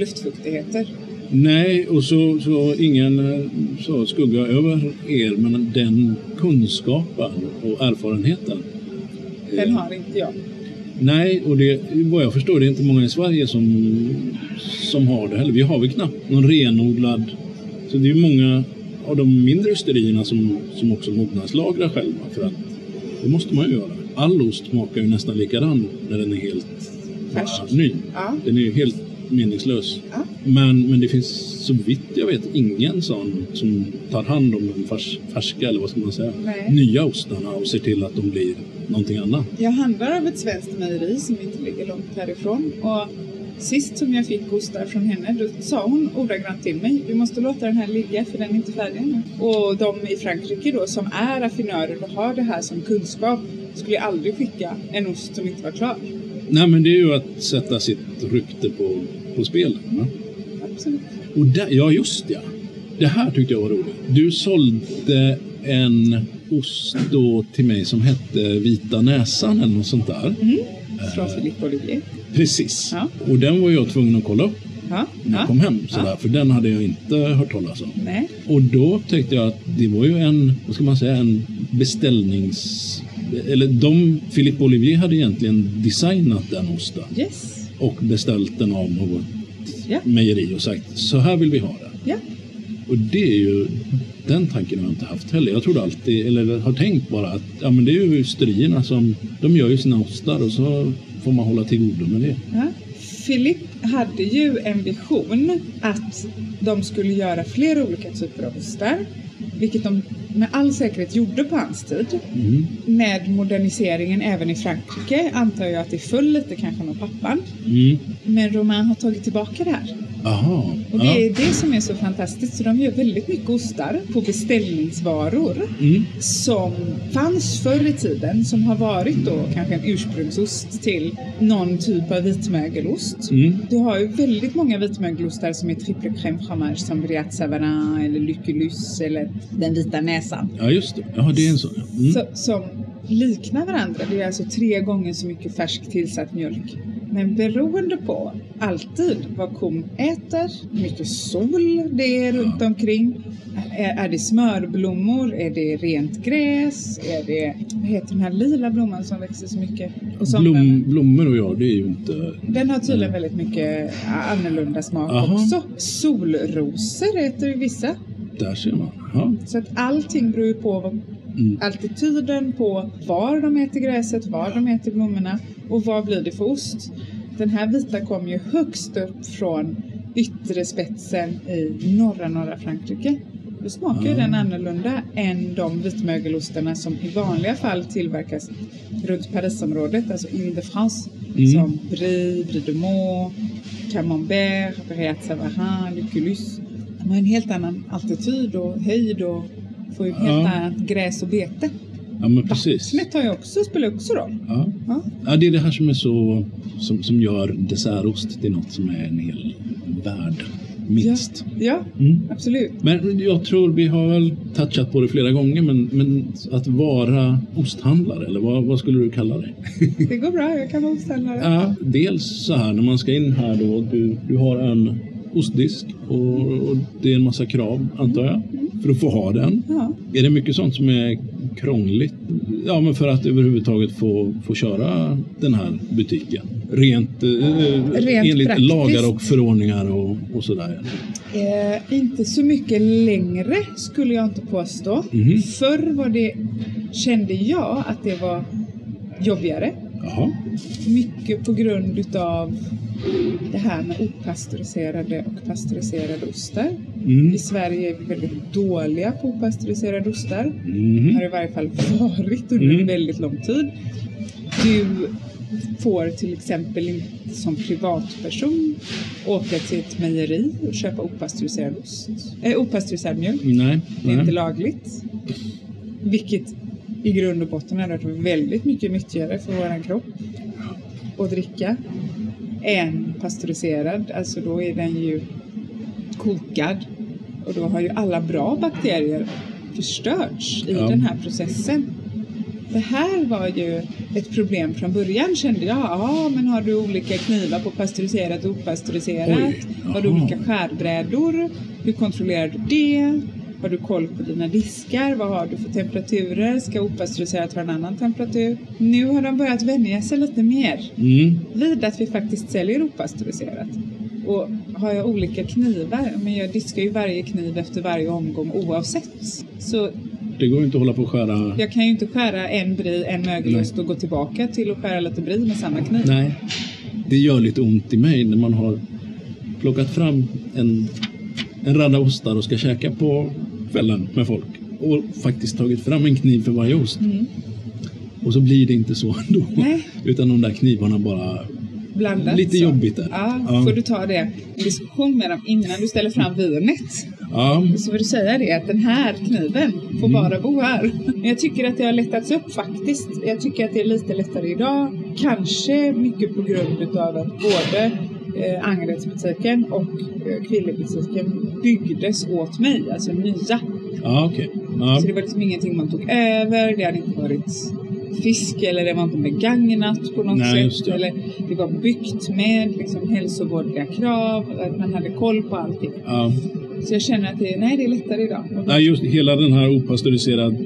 [SPEAKER 2] luftfuktigheter.
[SPEAKER 1] Nej, och så, så ingen eh, så skugga över er, men den kunskapen och erfarenheten.
[SPEAKER 2] Den
[SPEAKER 1] eh,
[SPEAKER 2] har inte jag.
[SPEAKER 1] Nej, och det, vad jag förstår det är inte många i Sverige som, som har det heller. Vi har väl knappt någon renodlad... Så det är ju många av de mindre osterierna som, som också mognadslagrar själva. För att det måste man ju göra. All ost smakar ju nästan likadan när den är helt
[SPEAKER 2] Färsk.
[SPEAKER 1] bara ny.
[SPEAKER 2] Ja.
[SPEAKER 1] Den är ju helt meningslös.
[SPEAKER 2] Ja.
[SPEAKER 1] Men, men det finns så vitt jag vet ingen sån som tar hand om den färs, färska, eller vad ska man säga,
[SPEAKER 2] Nej.
[SPEAKER 1] nya ostarna och ser till att de blir någonting annat.
[SPEAKER 2] Jag handlar av ett svenskt mejeri som inte ligger långt härifrån. Och sist som jag fick ostar från henne, då sa hon ordagrant till mig, du måste låta den här ligga för den är inte färdig ännu. Och de i Frankrike då som är raffinörer och har det här som kunskap skulle aldrig skicka en ost som inte var klar.
[SPEAKER 1] Nej, men det är ju att sätta sitt rykte på, på spel. va?
[SPEAKER 2] Absolut.
[SPEAKER 1] Och där, ja, just ja. Det här tyckte jag var roligt. Du sålde en ost då till mig som hette Vita Näsan eller något sånt där.
[SPEAKER 2] Från
[SPEAKER 1] Eh.
[SPEAKER 2] Philippe Olivier.
[SPEAKER 1] Precis.
[SPEAKER 2] Ja.
[SPEAKER 1] Och den var jag tvungen att kolla upp
[SPEAKER 2] Ja.
[SPEAKER 1] när jag
[SPEAKER 2] ja.
[SPEAKER 1] kom hem. Sådär, För den hade jag inte hört talas om.
[SPEAKER 2] Nej.
[SPEAKER 1] Och då upptäckte jag att det var ju en, vad ska man säga, en beställnings... Eller de, Philippe Olivier hade egentligen designat den osten
[SPEAKER 2] Yes.
[SPEAKER 1] och beställt den av något
[SPEAKER 2] Ja.
[SPEAKER 1] mejeri och sagt så här vill vi ha det.
[SPEAKER 2] Ja.
[SPEAKER 1] Och det är ju, den tanken har jag inte haft heller. Jag trodde alltid, eller har tänkt bara att ja, men det är ju osterierna som, de gör ju sina ostar och så får man hålla till godo med det.
[SPEAKER 2] Ja. Philip hade ju en vision att de skulle göra flera olika typer av ostar, vilket de med all säkerhet gjorde på hans tid.
[SPEAKER 1] Mm.
[SPEAKER 2] Med moderniseringen även i Frankrike antar jag att det föll lite kanske med pappan.
[SPEAKER 1] Mm.
[SPEAKER 2] Men Romain har tagit tillbaka det här.
[SPEAKER 1] Aha.
[SPEAKER 2] Och det
[SPEAKER 1] Ja.
[SPEAKER 2] är det som är så fantastiskt. Så de gör väldigt mycket ostar på beställningsvaror
[SPEAKER 1] Mm.
[SPEAKER 2] som fanns förr i tiden som har varit då kanske en ursprungsost till någon typ av vitmögelost.
[SPEAKER 1] Mm.
[SPEAKER 2] Du har ju väldigt många vitmögelostar som är triple crème fromage som Briat Savarin eller Lyckelus eller Den vita näsan.
[SPEAKER 1] ja, just det. Ja, det är en sån. ja. Mm.
[SPEAKER 2] Så, som liknar varandra. Det är alltså tre gånger så mycket färsk tillsatt mjölk. Men beroende på alltid vad kon äter, hur mycket sol det är runt omkring. Är, är det smörblommor? Är det rent gräs? Är det, vad heter den här lila blomman som växer så mycket? Och som
[SPEAKER 1] Blom, blommor och jag, det är ju inte...
[SPEAKER 2] den har tydligen väldigt mycket annorlunda smak
[SPEAKER 1] Mm. Aha.
[SPEAKER 2] också. Solrosor äter ju vissa.
[SPEAKER 1] Där ser man. Ja.
[SPEAKER 2] Så att allting beror ju på vad,
[SPEAKER 1] Mm.
[SPEAKER 2] altityden på var de äter gräset, var de äter blommorna och vad blir det för ost. Den här vita kom ju högst upp från yttre spetsen i norra, norra Frankrike. Då smakar ju
[SPEAKER 1] Ah.
[SPEAKER 2] den annorlunda än de vitmögelostarna som i vanliga fall tillverkas runt Parisområdet, alltså in de France,
[SPEAKER 1] Mm.
[SPEAKER 2] som Brie, Brie de Meaux, Camembert, Briat Savarin, Lucullus. De har en helt annan altityd och höjd och får ju ett helt
[SPEAKER 1] Ja.
[SPEAKER 2] annat gräs och bete.
[SPEAKER 1] ja, men precis.
[SPEAKER 2] Vattnet har ju också, spelar ju också roll.
[SPEAKER 1] Ja.
[SPEAKER 2] Ja.
[SPEAKER 1] Ja, det är det här som, är så, som, som gör dessertost till något som är en hel värld, minst.
[SPEAKER 2] Ja,
[SPEAKER 1] Mm.
[SPEAKER 2] absolut.
[SPEAKER 1] Men jag tror vi har väl touchat på det flera gånger, men, men att vara osthandlare, eller vad, vad skulle du kalla det?
[SPEAKER 2] Det går bra, jag kan vara oställare.
[SPEAKER 1] Ja, dels så här när man ska in här då, du, du har en ostdisk och, och det är en massa krav, antar jag, för att få ha den.
[SPEAKER 2] Ja.
[SPEAKER 1] Är det mycket sånt som är krångligt? Ja, men för att överhuvudtaget få, få köra den här butiken. Rent, eh, enligt
[SPEAKER 2] praktiskt.
[SPEAKER 1] lagar och förordningar och, och sådär.
[SPEAKER 2] Eh, inte så mycket längre skulle jag inte påstå.
[SPEAKER 1] Mhm.
[SPEAKER 2] Förr var det, kände jag att det var jobbigare.
[SPEAKER 1] Jaha.
[SPEAKER 2] Mycket på grund utav det här med opastöriserade och pastöriserade ostar.
[SPEAKER 1] Mm.
[SPEAKER 2] I Sverige är vi väldigt dåliga på opastöriserade ostar.
[SPEAKER 1] Mhm.
[SPEAKER 2] Har i varje fall varit under
[SPEAKER 1] Mm.
[SPEAKER 2] en väldigt lång tid. Du får till exempel inte som privatperson åka till ett mejeri och köpa opastöriserad ost. Eh, opastöriserad mjölk.
[SPEAKER 1] Nej.
[SPEAKER 2] Det är inte
[SPEAKER 1] nej.
[SPEAKER 2] lagligt. Vilket i grund och botten hade varit väldigt mycket nyttigare för vår kropp att dricka än pastöriserad. Alltså då är den ju kokad och då har ju alla bra bakterier förstörts i
[SPEAKER 1] Ja.
[SPEAKER 2] den här processen. Det här var ju ett problem från början kände jag. Ja, men har du olika knivar på pastöriserat och opastöriserat?
[SPEAKER 1] Oj,
[SPEAKER 2] har du
[SPEAKER 1] jaha.
[SPEAKER 2] olika skärbrädor? Hur kontrollerar du det? Har du koll på dina diskar? Vad har du för temperaturer? Ska opastöriserat ha en annan temperatur? Nu har de börjat vänja sig lite mer
[SPEAKER 1] Mm.
[SPEAKER 2] vid att vi faktiskt säljer opastöriserat. Och har jag olika knivar? Men jag diskar ju varje kniv efter varje omgång oavsett. Så
[SPEAKER 1] Det går ju inte att hålla på och skära.
[SPEAKER 2] jag kan ju inte skära en brie, en mögelost och gå tillbaka till att skära lite brie med samma kniv.
[SPEAKER 1] Nej. Det gör lite ont i mig när man har plockat fram en, en radda ostar och ska käka på kvällen med folk. Och faktiskt tagit fram en kniv för varje ost.
[SPEAKER 2] Mm.
[SPEAKER 1] Och så blir det inte så ändå.
[SPEAKER 2] Nej.
[SPEAKER 1] Utan de där knivarna bara...
[SPEAKER 2] Blandat.
[SPEAKER 1] Lite
[SPEAKER 2] så.
[SPEAKER 1] jobbigt där.
[SPEAKER 2] Ja,
[SPEAKER 1] Ja.
[SPEAKER 2] får du ta det i diskussion med dem innan du ställer fram vinet.
[SPEAKER 1] Ja,
[SPEAKER 2] Så får du säga det att den här kniven får
[SPEAKER 1] Mm.
[SPEAKER 2] bara bo här. Men jag tycker att det har lättats upp faktiskt. Jag tycker att det är lite lättare idag. Kanske mycket på grund utav att både eh, Angeredsbutiken och eh, Kvillebutiken byggdes åt mig, alltså nya.
[SPEAKER 1] ja okej. Ja.
[SPEAKER 2] Så det var liksom ingenting man tog över. Det hade inte varit fisk eller det var inte begagnat på något
[SPEAKER 1] Nej, just
[SPEAKER 2] sätt.
[SPEAKER 1] det.
[SPEAKER 2] Eller det var byggt med liksom, hälsovårdliga krav, att man hade koll på allting.
[SPEAKER 1] Ja.
[SPEAKER 2] Så jag känner att det, nej, det är lättare idag.
[SPEAKER 1] Nej, just hela den här opastöriserade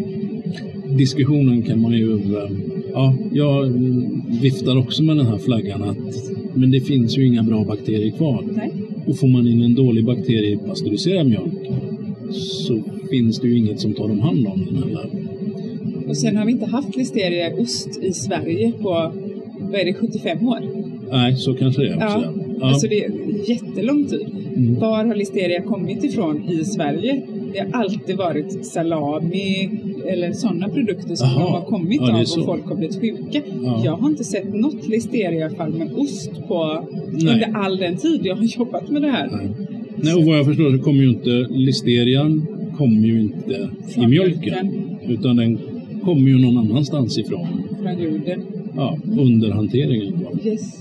[SPEAKER 1] diskussionen kan man ju... eh, Ja, jag mm, viftar också med den här flaggan att men det finns ju inga bra bakterier kvar.
[SPEAKER 2] Nej.
[SPEAKER 1] Och får man in en dålig bakterie i pastöriserad mjölk så finns det ju inget som tar om hand om den heller.
[SPEAKER 2] Och sen har vi inte haft listeriaost i Sverige på, vad är det, 75 år?
[SPEAKER 1] Nej, så kanske det är också.
[SPEAKER 2] Ja.
[SPEAKER 1] Ja.
[SPEAKER 2] Alltså det är jättelång tid.
[SPEAKER 1] Mm.
[SPEAKER 2] Var har listeria kommit ifrån i Sverige? Det har alltid varit salami eller sådana produkter som
[SPEAKER 1] Jaha.
[SPEAKER 2] de har kommit
[SPEAKER 1] Ja, det är
[SPEAKER 2] av och
[SPEAKER 1] så.
[SPEAKER 2] folk har blivit sjuka.
[SPEAKER 1] Ja.
[SPEAKER 2] Jag har inte sett något listeriafall med ost på
[SPEAKER 1] Nej.
[SPEAKER 2] under all den tid jag har jobbat med det här.
[SPEAKER 1] Nej. Nej, och vad jag förstår så kommer ju inte listerian kommer ju inte i
[SPEAKER 2] Från
[SPEAKER 1] mjölken. Utan den kommer ju någon annanstans ifrån.
[SPEAKER 2] Från jorden.
[SPEAKER 1] Ja, under hanteringen. då.
[SPEAKER 2] Yes.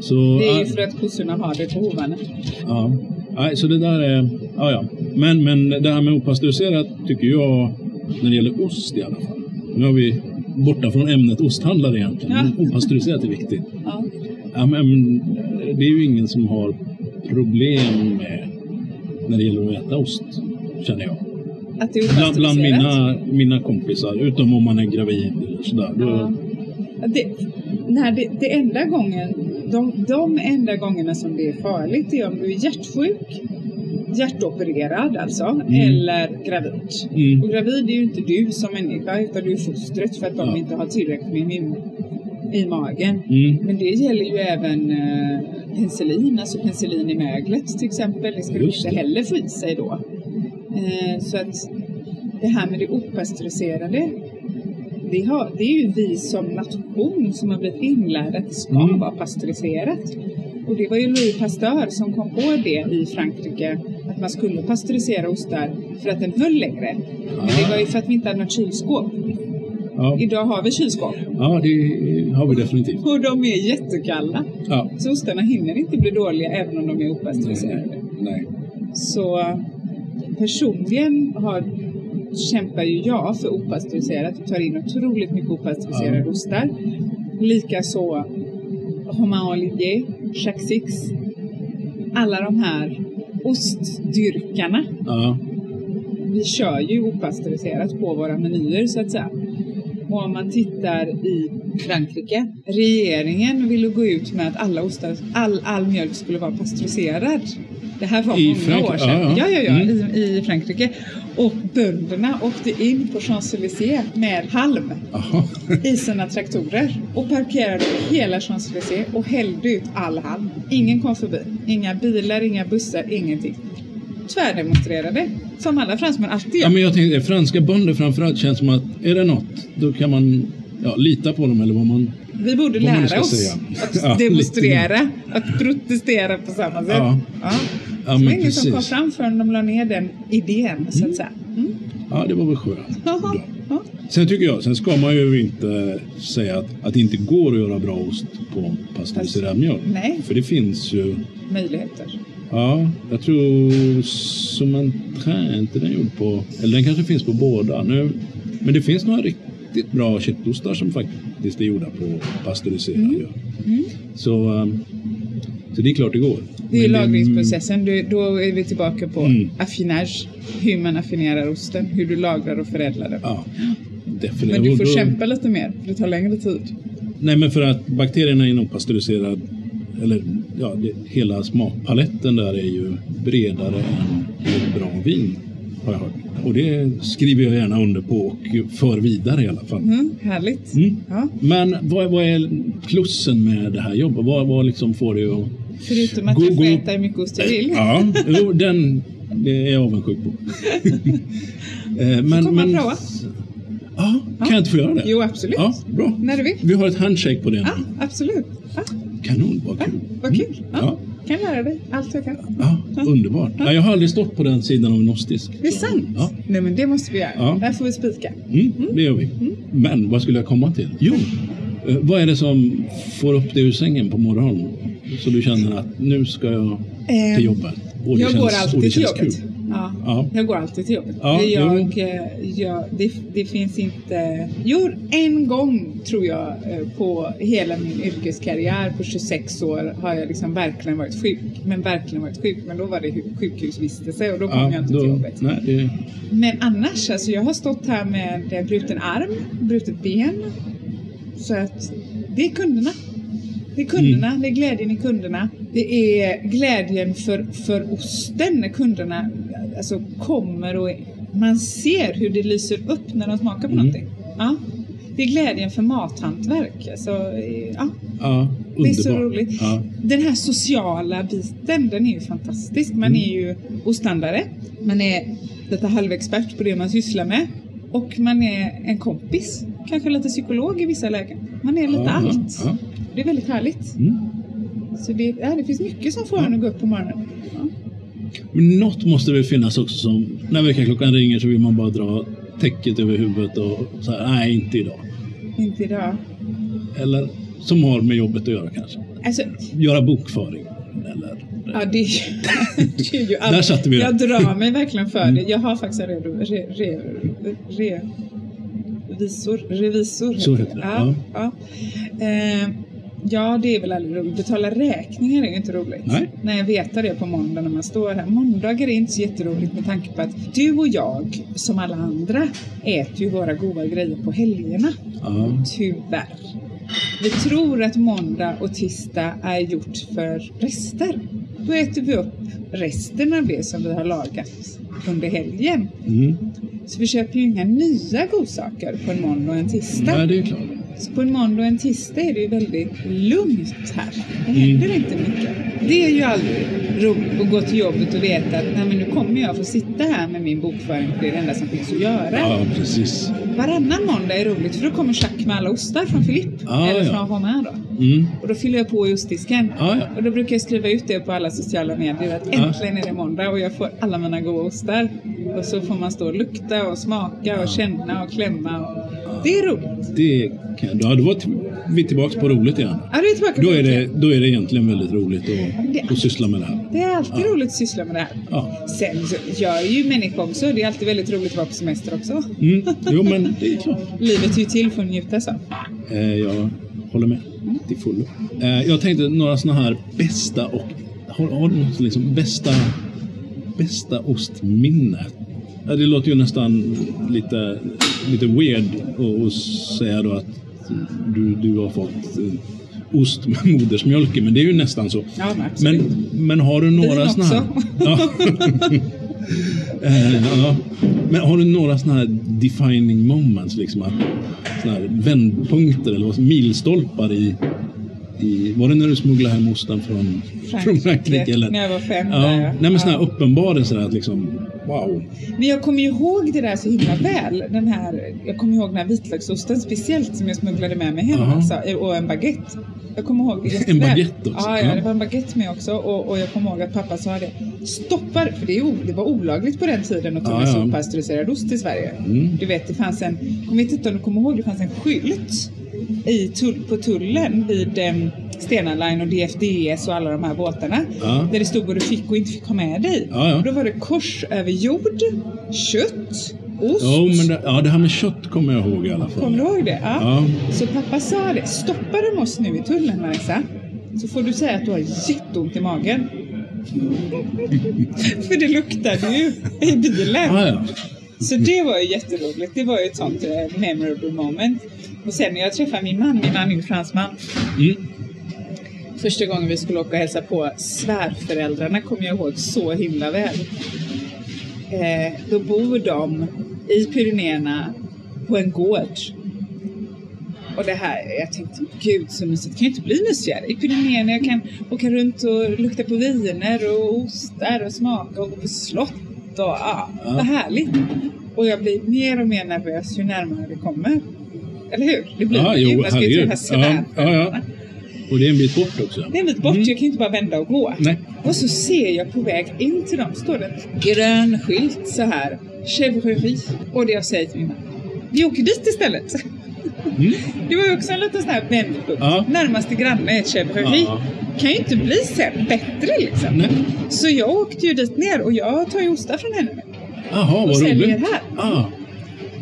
[SPEAKER 1] Så,
[SPEAKER 2] Det är
[SPEAKER 1] ja,
[SPEAKER 2] ju för att kossorna har det på hovarna.
[SPEAKER 1] ja. Nej, så det där är... Ja, ja. Men, men det här med opastöriserat tycker jag, när det gäller ost i alla fall. Nu är vi borta från ämnet osthandlare egentligen.
[SPEAKER 2] Ja.
[SPEAKER 1] Men opastöriserat är viktigt.
[SPEAKER 2] Ja.
[SPEAKER 1] Ja, men, men, det är ju ingen som har problem med när det gäller att äta ost, känner jag.
[SPEAKER 2] Att det är
[SPEAKER 1] Bland, bland
[SPEAKER 2] opastöriserat.
[SPEAKER 1] mina, mina kompisar, utom om man är gravid eller sådär. Då,
[SPEAKER 2] Ja. Det, nej, det, det enda gången, de, de enda gångerna som det är farligt är om du är hjärtsjuk, hjärtopererad alltså, eller gravid.
[SPEAKER 1] Mm.
[SPEAKER 2] Och gravid är ju inte du som människa utan du är fostret för att de
[SPEAKER 1] Ja.
[SPEAKER 2] inte har tillräckligt med immun i magen.
[SPEAKER 1] Mm.
[SPEAKER 2] Men det gäller ju även eh, penicillin, alltså penicillin i möglet till exempel. Det skulle
[SPEAKER 1] Just
[SPEAKER 2] inte
[SPEAKER 1] det.
[SPEAKER 2] heller få i sig då. Eh, så att det här med det opastöriserade, det, har, det är ju vi som nation som har blivit inlärda att det ska
[SPEAKER 1] Mm.
[SPEAKER 2] vara pastöriserat. Och det var ju Louis Pasteur som kom på det i Frankrike, att man skulle pastörisera ostar för att den höll längre. Men
[SPEAKER 1] Ah.
[SPEAKER 2] det var ju för att vi inte hade något kylskåp.
[SPEAKER 1] Ja.
[SPEAKER 2] Idag har vi kylskåp
[SPEAKER 1] ja, det har vi definitivt.
[SPEAKER 2] och de är jättekalla.
[SPEAKER 1] Ja.
[SPEAKER 2] Så ostarna hinner inte bli dåliga även om de är opastöriserade.
[SPEAKER 1] Nej.
[SPEAKER 2] Så personligen har, kämpar ju jag för opastöriserat och tar in otroligt mycket opastöriserade
[SPEAKER 1] Ja.
[SPEAKER 2] ostar. Likaså Romain Olivier, Jacques Six. Alla de här ostdyrkarna.
[SPEAKER 1] Ja.
[SPEAKER 2] Vi kör ju opastöriserat på våra menyer så att säga. Och om man tittar i Frankrike. Regeringen ville gå ut med att alla ostar, all, all mjölk skulle vara pastöriserad. Det här var
[SPEAKER 1] I
[SPEAKER 2] många
[SPEAKER 1] Frankrike?
[SPEAKER 2] år sedan.
[SPEAKER 1] Ja, ja.
[SPEAKER 2] ja, ja,
[SPEAKER 1] Mm.
[SPEAKER 2] i, i Frankrike. Och bönderna åkte in på Champs-Élysées med halm
[SPEAKER 1] Aha.
[SPEAKER 2] i sina traktorer och parkerade på hela Champs-Élysées och hällde ut all halm. Ingen kom förbi. Inga bilar, inga bussar, ingenting. Tvärdemonstrerade, som alla fransmän alltid gör.
[SPEAKER 1] Ja, men jag tänkte, franska bönder framförallt känns som att är det något, då kan man ja, lita på dem eller vad man...
[SPEAKER 2] Vi borde
[SPEAKER 1] Vad man nu
[SPEAKER 2] lära
[SPEAKER 1] ska
[SPEAKER 2] oss
[SPEAKER 1] säga. Ja,
[SPEAKER 2] att demonstrera, att protestera på samma sätt.
[SPEAKER 1] Ja.
[SPEAKER 2] Ja.
[SPEAKER 1] Ja,
[SPEAKER 2] Så
[SPEAKER 1] men
[SPEAKER 2] det är ingen som kom
[SPEAKER 1] precis.
[SPEAKER 2] fram förrän de la ner den idén, så att säga. Mm.
[SPEAKER 1] Ja, det var väl skönt.
[SPEAKER 2] Jaha. Ja.
[SPEAKER 1] Sen tycker jag, sen ska man ju inte säga att, att det inte går att göra bra ost på pastöriserad mjölk.
[SPEAKER 2] Nej.
[SPEAKER 1] För det finns ju...
[SPEAKER 2] Möjligheter.
[SPEAKER 1] Ja, jag tror som en trä, inte den gjord på... Eller den kanske finns på båda nu. Men det finns några riktigt bra köttostar som faktiskt är gjorda på pastöriserad mjölk. Så, eh, Så det är klart det går.
[SPEAKER 2] Mm. Det är ju
[SPEAKER 1] Men
[SPEAKER 2] lagringsprocessen. Du, då är vi tillbaka på
[SPEAKER 1] Mm.
[SPEAKER 2] affinage. Hur man affinerar osten. Hur du lagrar och förädlar den.
[SPEAKER 1] Ja, definitivt.
[SPEAKER 2] Men du får
[SPEAKER 1] Då-
[SPEAKER 2] kämpa lite mer. för Det tar längre tid.
[SPEAKER 1] Nej, men för att bakterierna inom pasteuriserad, eller ja, det, hela smakpaletten där är ju bredare än i ett bra vin, har jag hört. Och det skriver jag gärna under på och för vidare i alla fall.
[SPEAKER 2] Mm, härligt.
[SPEAKER 1] Mm.
[SPEAKER 2] Ja.
[SPEAKER 1] Men vad, vad är plussen med det här jobbet? Vad, vad liksom får dig att...
[SPEAKER 2] Förutom att
[SPEAKER 1] Gå-
[SPEAKER 2] du får
[SPEAKER 1] gå-
[SPEAKER 2] äta hur mycket ost du vill.
[SPEAKER 1] Ja, jo, den det är jag avundsjuk på. Eh, men,
[SPEAKER 2] Kommer man prova?
[SPEAKER 1] Ja, kan jag inte få göra det?
[SPEAKER 2] Jo, absolut.
[SPEAKER 1] Ja, bra.
[SPEAKER 2] När du vill.
[SPEAKER 1] Vi har ett handshake på det nu.
[SPEAKER 2] Ja, absolut. Ja,
[SPEAKER 1] Kanon, vad kul.
[SPEAKER 2] vad kul.
[SPEAKER 1] Mm.
[SPEAKER 2] Ja.
[SPEAKER 1] Ja.
[SPEAKER 2] Kan lära dig allt jag kan.
[SPEAKER 1] Ja, underbart. Ja, jag har aldrig stått på den sidan av en ostisk.
[SPEAKER 2] Det är sant.
[SPEAKER 1] Ja.
[SPEAKER 2] Nej, men det måste vi göra.
[SPEAKER 1] Ja.
[SPEAKER 2] Där får vi spika.
[SPEAKER 1] Mm, det gör vi. Men vad skulle jag komma till? Jo, eh, vad är det som får upp dig ur sängen på morgonen? Så du känner att nu ska jag
[SPEAKER 2] Ehm,
[SPEAKER 1] till jobbet. Och det
[SPEAKER 2] jag
[SPEAKER 1] känns-
[SPEAKER 2] går
[SPEAKER 1] och det
[SPEAKER 2] alltid till
[SPEAKER 1] känns
[SPEAKER 2] jobbet.
[SPEAKER 1] kul.
[SPEAKER 2] Ja.
[SPEAKER 1] Ja.
[SPEAKER 2] Jag går alltid till jobbet.
[SPEAKER 1] Ja,
[SPEAKER 2] jag,
[SPEAKER 1] jo.
[SPEAKER 2] eh, jag, det, det finns inte... Jo, en gång tror jag eh, på hela min yrkeskarriär på 26 år har jag liksom verkligen varit sjuk. Men verkligen varit sjuk. Men då var det hu- sjukhusvistelse och då kom jag inte till
[SPEAKER 1] då,
[SPEAKER 2] jobbet.
[SPEAKER 1] nej, det,
[SPEAKER 2] Men annars, alltså jag har stått här med eh, bruten arm, brutet ben. Så att det är kunderna. Det är kunderna, det är glädjen i kunderna. Det är glädjen för, för osten när kunderna alltså, kommer och man ser hur det lyser upp när de smakar på
[SPEAKER 1] Mm.
[SPEAKER 2] någonting. Ja. Det är glädjen för mathantverk. Alltså, eh, ja.
[SPEAKER 1] ja, underbart.
[SPEAKER 2] Det är så roligt.
[SPEAKER 1] Ja,
[SPEAKER 2] Den här sociala biten, den är ju fantastisk. Man är ju osthandlare, man är lite halvexpert på det man sysslar med och man är en kompis, kanske lite psykolog i vissa lägen. Man är lite
[SPEAKER 1] ja,
[SPEAKER 2] allt.
[SPEAKER 1] Ja,
[SPEAKER 2] Det är väldigt härligt.
[SPEAKER 1] Mm.
[SPEAKER 2] Så det, ja, det finns mycket som får en att gå upp på morgonen. Ja.
[SPEAKER 1] Men något måste det väl finnas också som, när väckarklockan ringer så vill man bara dra täcket över huvudet och så här, nej inte idag.
[SPEAKER 2] Inte idag.
[SPEAKER 1] Eller som har med jobbet att göra kanske.
[SPEAKER 2] Alltså,
[SPEAKER 1] Göra bokföring. Eller,
[SPEAKER 2] ja, det, är ju- det är ju all...
[SPEAKER 1] Där satte vi det. Mm.
[SPEAKER 2] Jag drar mig verkligen för det. Jag har faktiskt en re, re, re, re, visor, revisor.
[SPEAKER 1] Så heter det,
[SPEAKER 2] Ja, ja. Eh, ja, det är väl aldrig roligt. Betala räkningar är ju inte roligt.
[SPEAKER 1] Nej.
[SPEAKER 2] När jag vet det på måndag när man står här. Måndagar är inte så jätteroligt med tanke på att du och jag, som alla andra, äter ju våra goda grejer på helgerna.
[SPEAKER 1] ja.
[SPEAKER 2] Tyvärr. Vi tror att måndag och tisdag är gjort för rester. Då äter vi upp resten av det som vi har lagat under helgen.
[SPEAKER 1] Mm.
[SPEAKER 2] Så vi köper ju inga nya godsaker på en måndag och en tisdag.
[SPEAKER 1] Nej, det är klart.
[SPEAKER 2] Så på en måndag och en tisdag är det ju väldigt lugnt här. Det
[SPEAKER 1] Mm.
[SPEAKER 2] händer inte mycket. Det är ju aldrig roligt att gå till jobbet och veta att Nej, men nu kommer jag få sitta här med min bokföring för det är det enda som finns att göra.
[SPEAKER 1] Ja, precis.
[SPEAKER 2] Varannan måndag är roligt för då kommer Jack med alla ostar från Filipp.
[SPEAKER 1] Ah,
[SPEAKER 2] eller från
[SPEAKER 1] ja.
[SPEAKER 2] Homer då.
[SPEAKER 1] Mm.
[SPEAKER 2] Och då fyller jag på i ostdisken.
[SPEAKER 1] Ah, ja. Ah.
[SPEAKER 2] Och då brukar jag skriva ut det på alla sociala medier att äntligen är det måndag och jag får alla mina goda ostar. Och så får man stå och lukta och smaka
[SPEAKER 1] Ah.
[SPEAKER 2] och känna och klämma. Och... Det är roligt.
[SPEAKER 1] Det kan, ja, då var t- vi tillbaka på roligt igen.
[SPEAKER 2] Ja, det är tillbaka
[SPEAKER 1] Då
[SPEAKER 2] till
[SPEAKER 1] är det,
[SPEAKER 2] det.
[SPEAKER 1] då är det egentligen väldigt roligt
[SPEAKER 2] Det-
[SPEAKER 1] att, att syssla med det här.
[SPEAKER 2] Det är
[SPEAKER 1] Ah.
[SPEAKER 2] alltid roligt att syssla med det här.
[SPEAKER 1] Ja.
[SPEAKER 2] Sen så gör ju människor också. Det är alltid väldigt roligt att vara på semester också.
[SPEAKER 1] Mm. Jo, men det är klart.
[SPEAKER 2] Livet är ju till för att njuta så.
[SPEAKER 1] Eh, jag håller med till fullo. Eh, jag tänkte några sådana här bästa och... Har, har du något liksom bästa, bästa ostminne? Ja, det låter ju nästan lite, lite weird att- att säga då att du, du har fått eh, ost med modersmjölken, men det är ju nästan så.
[SPEAKER 2] Ja, men absolut.
[SPEAKER 1] Men, men har du några
[SPEAKER 2] Vin
[SPEAKER 1] sådana här...
[SPEAKER 2] också.
[SPEAKER 1] Ja. Eh, ja. Men har du några sådana här defining moments, liksom att, såna här vändpunkter eller vad som- milstolpar i, i... Var det när du smugglade hem osten från Frankrike? Från Frankrike eller?
[SPEAKER 2] När jag var fem.
[SPEAKER 1] Ja,
[SPEAKER 2] där, ja.
[SPEAKER 1] nej men sådana
[SPEAKER 2] Ja.
[SPEAKER 1] här uppenbarelser att liksom, wow.
[SPEAKER 2] Men jag kommer ju ihåg det där så himla väl. Den här, jag kommer ihåg den här vitlöksosten speciellt som jag smugglade med mig hem
[SPEAKER 1] Aha.
[SPEAKER 2] alltså, och en baguette. Jag kommer ihåg det jätteväl.
[SPEAKER 1] baguette också,
[SPEAKER 2] Ja, ja,
[SPEAKER 1] ja.
[SPEAKER 2] det var en baguette med också och, och jag kommer ihåg att pappa sa det. Stoppa, för det, är o- det var olagligt på den tiden att ta
[SPEAKER 1] Ja,
[SPEAKER 2] med
[SPEAKER 1] ja.
[SPEAKER 2] sig opastöriserad ost till Sverige.
[SPEAKER 1] Mm.
[SPEAKER 2] Du vet, det fanns en, jag vet inte om du kommer ihåg, det fanns en skylt i tull, på tullen vid em, Stena Line och DFDS och alla de här båtarna.
[SPEAKER 1] Ja.
[SPEAKER 2] Där det stod vad du fick och inte fick ha med dig.
[SPEAKER 1] Ja, ja.
[SPEAKER 2] Då var det kors över jord, kött, ost.
[SPEAKER 1] Jo, men det, ja, det här med kött kommer jag ihåg i alla fall.
[SPEAKER 2] Kommer du ihåg det? Ja.
[SPEAKER 1] Ja.
[SPEAKER 2] Så pappa sa det. Stoppar de oss nu i tullen Marissa? så får du säga att du har jätteont i magen. För det luktade ju i bilen.
[SPEAKER 1] Ah, ja.
[SPEAKER 2] Så det var ju jätteroligt. Det var ju ett sånt eh, memorable moment. Och sen när jag träffade min man, min man är ju fransman.
[SPEAKER 1] Mm.
[SPEAKER 2] Första gången vi skulle åka och hälsa på svärföräldrarna kommer jag ihåg så himla väl. Eh, då bor de i Pyrenéerna på en gård. Och det här, jag tänkte gud så mysigt, det kan ju inte bli mysigare. I Pyrenéerna jag kan åka runt och lukta på viner och ostar och smaka och gå på slott och ja,
[SPEAKER 1] Ja.
[SPEAKER 2] vad härligt. Och jag blir mer och mer nervös ju närmare vi kommer. Eller hur? Det blir
[SPEAKER 1] Ja,
[SPEAKER 2] det ju.
[SPEAKER 1] Ah, jo,
[SPEAKER 2] Man ska ju
[SPEAKER 1] herregud.
[SPEAKER 2] träffa
[SPEAKER 1] Ja, ja, ja. Och det är en bit bort också.
[SPEAKER 2] det är en bit bort, jag kan ju inte bara vända och gå.
[SPEAKER 1] Mm. Nej.
[SPEAKER 2] Och så ser jag på väg in till dem, står det en grön skylt så här. Chevrerie. Och det jag säger till min man. Vi åker dit istället.
[SPEAKER 1] Mm.
[SPEAKER 2] Det var ju också en liten sån här vändpunkt.
[SPEAKER 1] Ja.
[SPEAKER 2] Närmaste granne är Chevrerie.
[SPEAKER 1] Ja.
[SPEAKER 2] Kan ju inte bli sen, bättre liksom.
[SPEAKER 1] Nej.
[SPEAKER 2] Så jag åkte ju dit ner och jag tar ju ostar från henne.
[SPEAKER 1] Jaha,
[SPEAKER 2] Och
[SPEAKER 1] vad
[SPEAKER 2] säljer
[SPEAKER 1] roligt.
[SPEAKER 2] här.
[SPEAKER 1] Ah,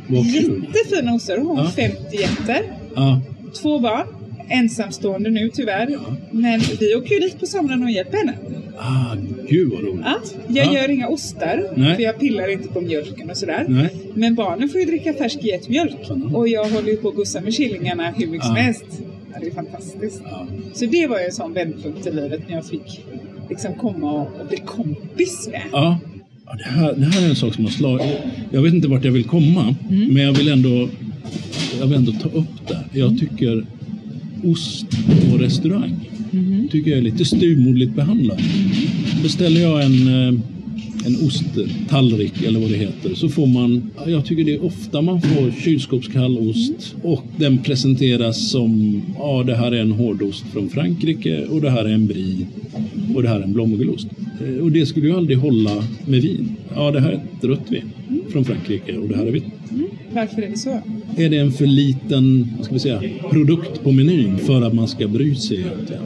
[SPEAKER 1] vad kul.
[SPEAKER 2] Jättefina ostar. Hon har
[SPEAKER 1] Ja.
[SPEAKER 2] 50 jätter.
[SPEAKER 1] Ah,
[SPEAKER 2] Två barn, ensamstående nu tyvärr.
[SPEAKER 1] Ja.
[SPEAKER 2] Men vi åker ju dit på somrarna och hjälper henne.
[SPEAKER 1] ah, gud vad roligt. Ah,
[SPEAKER 2] Ja, jag
[SPEAKER 1] Ja.
[SPEAKER 2] gör inga ostar,
[SPEAKER 1] Nej.
[SPEAKER 2] för jag pillar inte på mjölken och sådär.
[SPEAKER 1] Nej.
[SPEAKER 2] Men barnen får ju dricka färsk getmjölk.
[SPEAKER 1] Mm.
[SPEAKER 2] Och jag håller ju på att gussa med killingarna hur mycket som
[SPEAKER 1] Ja.
[SPEAKER 2] helst. Ja, det är fantastiskt.
[SPEAKER 1] Ja.
[SPEAKER 2] Så det var ju en sån vändpunkt i livet när jag fick liksom komma och, och bli kompis med.
[SPEAKER 1] Ja. Ja, Ah, Det här, det här är en sak som har slagit... Jag vet inte vart jag vill komma,
[SPEAKER 2] Mm.
[SPEAKER 1] men jag vill ändå, jag vill ändå ta upp det.
[SPEAKER 2] Mm.
[SPEAKER 1] Jag tycker ost på restaurang
[SPEAKER 2] Mm-hmm.
[SPEAKER 1] tycker jag är lite styvmoderligt behandlad.
[SPEAKER 2] Mm.
[SPEAKER 1] Beställer jag en, eh, en osttallrik eller vad det heter så får man, ja, jag tycker det är ofta man får kylskåpskall ost och den presenteras som, ja det här är en hårdost från Frankrike och det här är en brie och det här är en blåmögelost. Eh, Och det skulle ju aldrig hålla med vin. Ja, det här är ett rött vin från Frankrike och det här är vitt.
[SPEAKER 2] Varför är det så?
[SPEAKER 1] Är det en för liten vad ska vi säga, produkt på menyn för att man ska bry sig egentligen?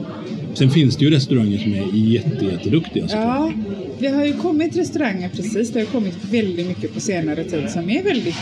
[SPEAKER 1] Sen finns det ju restauranger som är jätte, jätteduktiga. såklart.
[SPEAKER 2] Ja, det har ju kommit restauranger precis. Det har kommit väldigt mycket på senare tid som är väldigt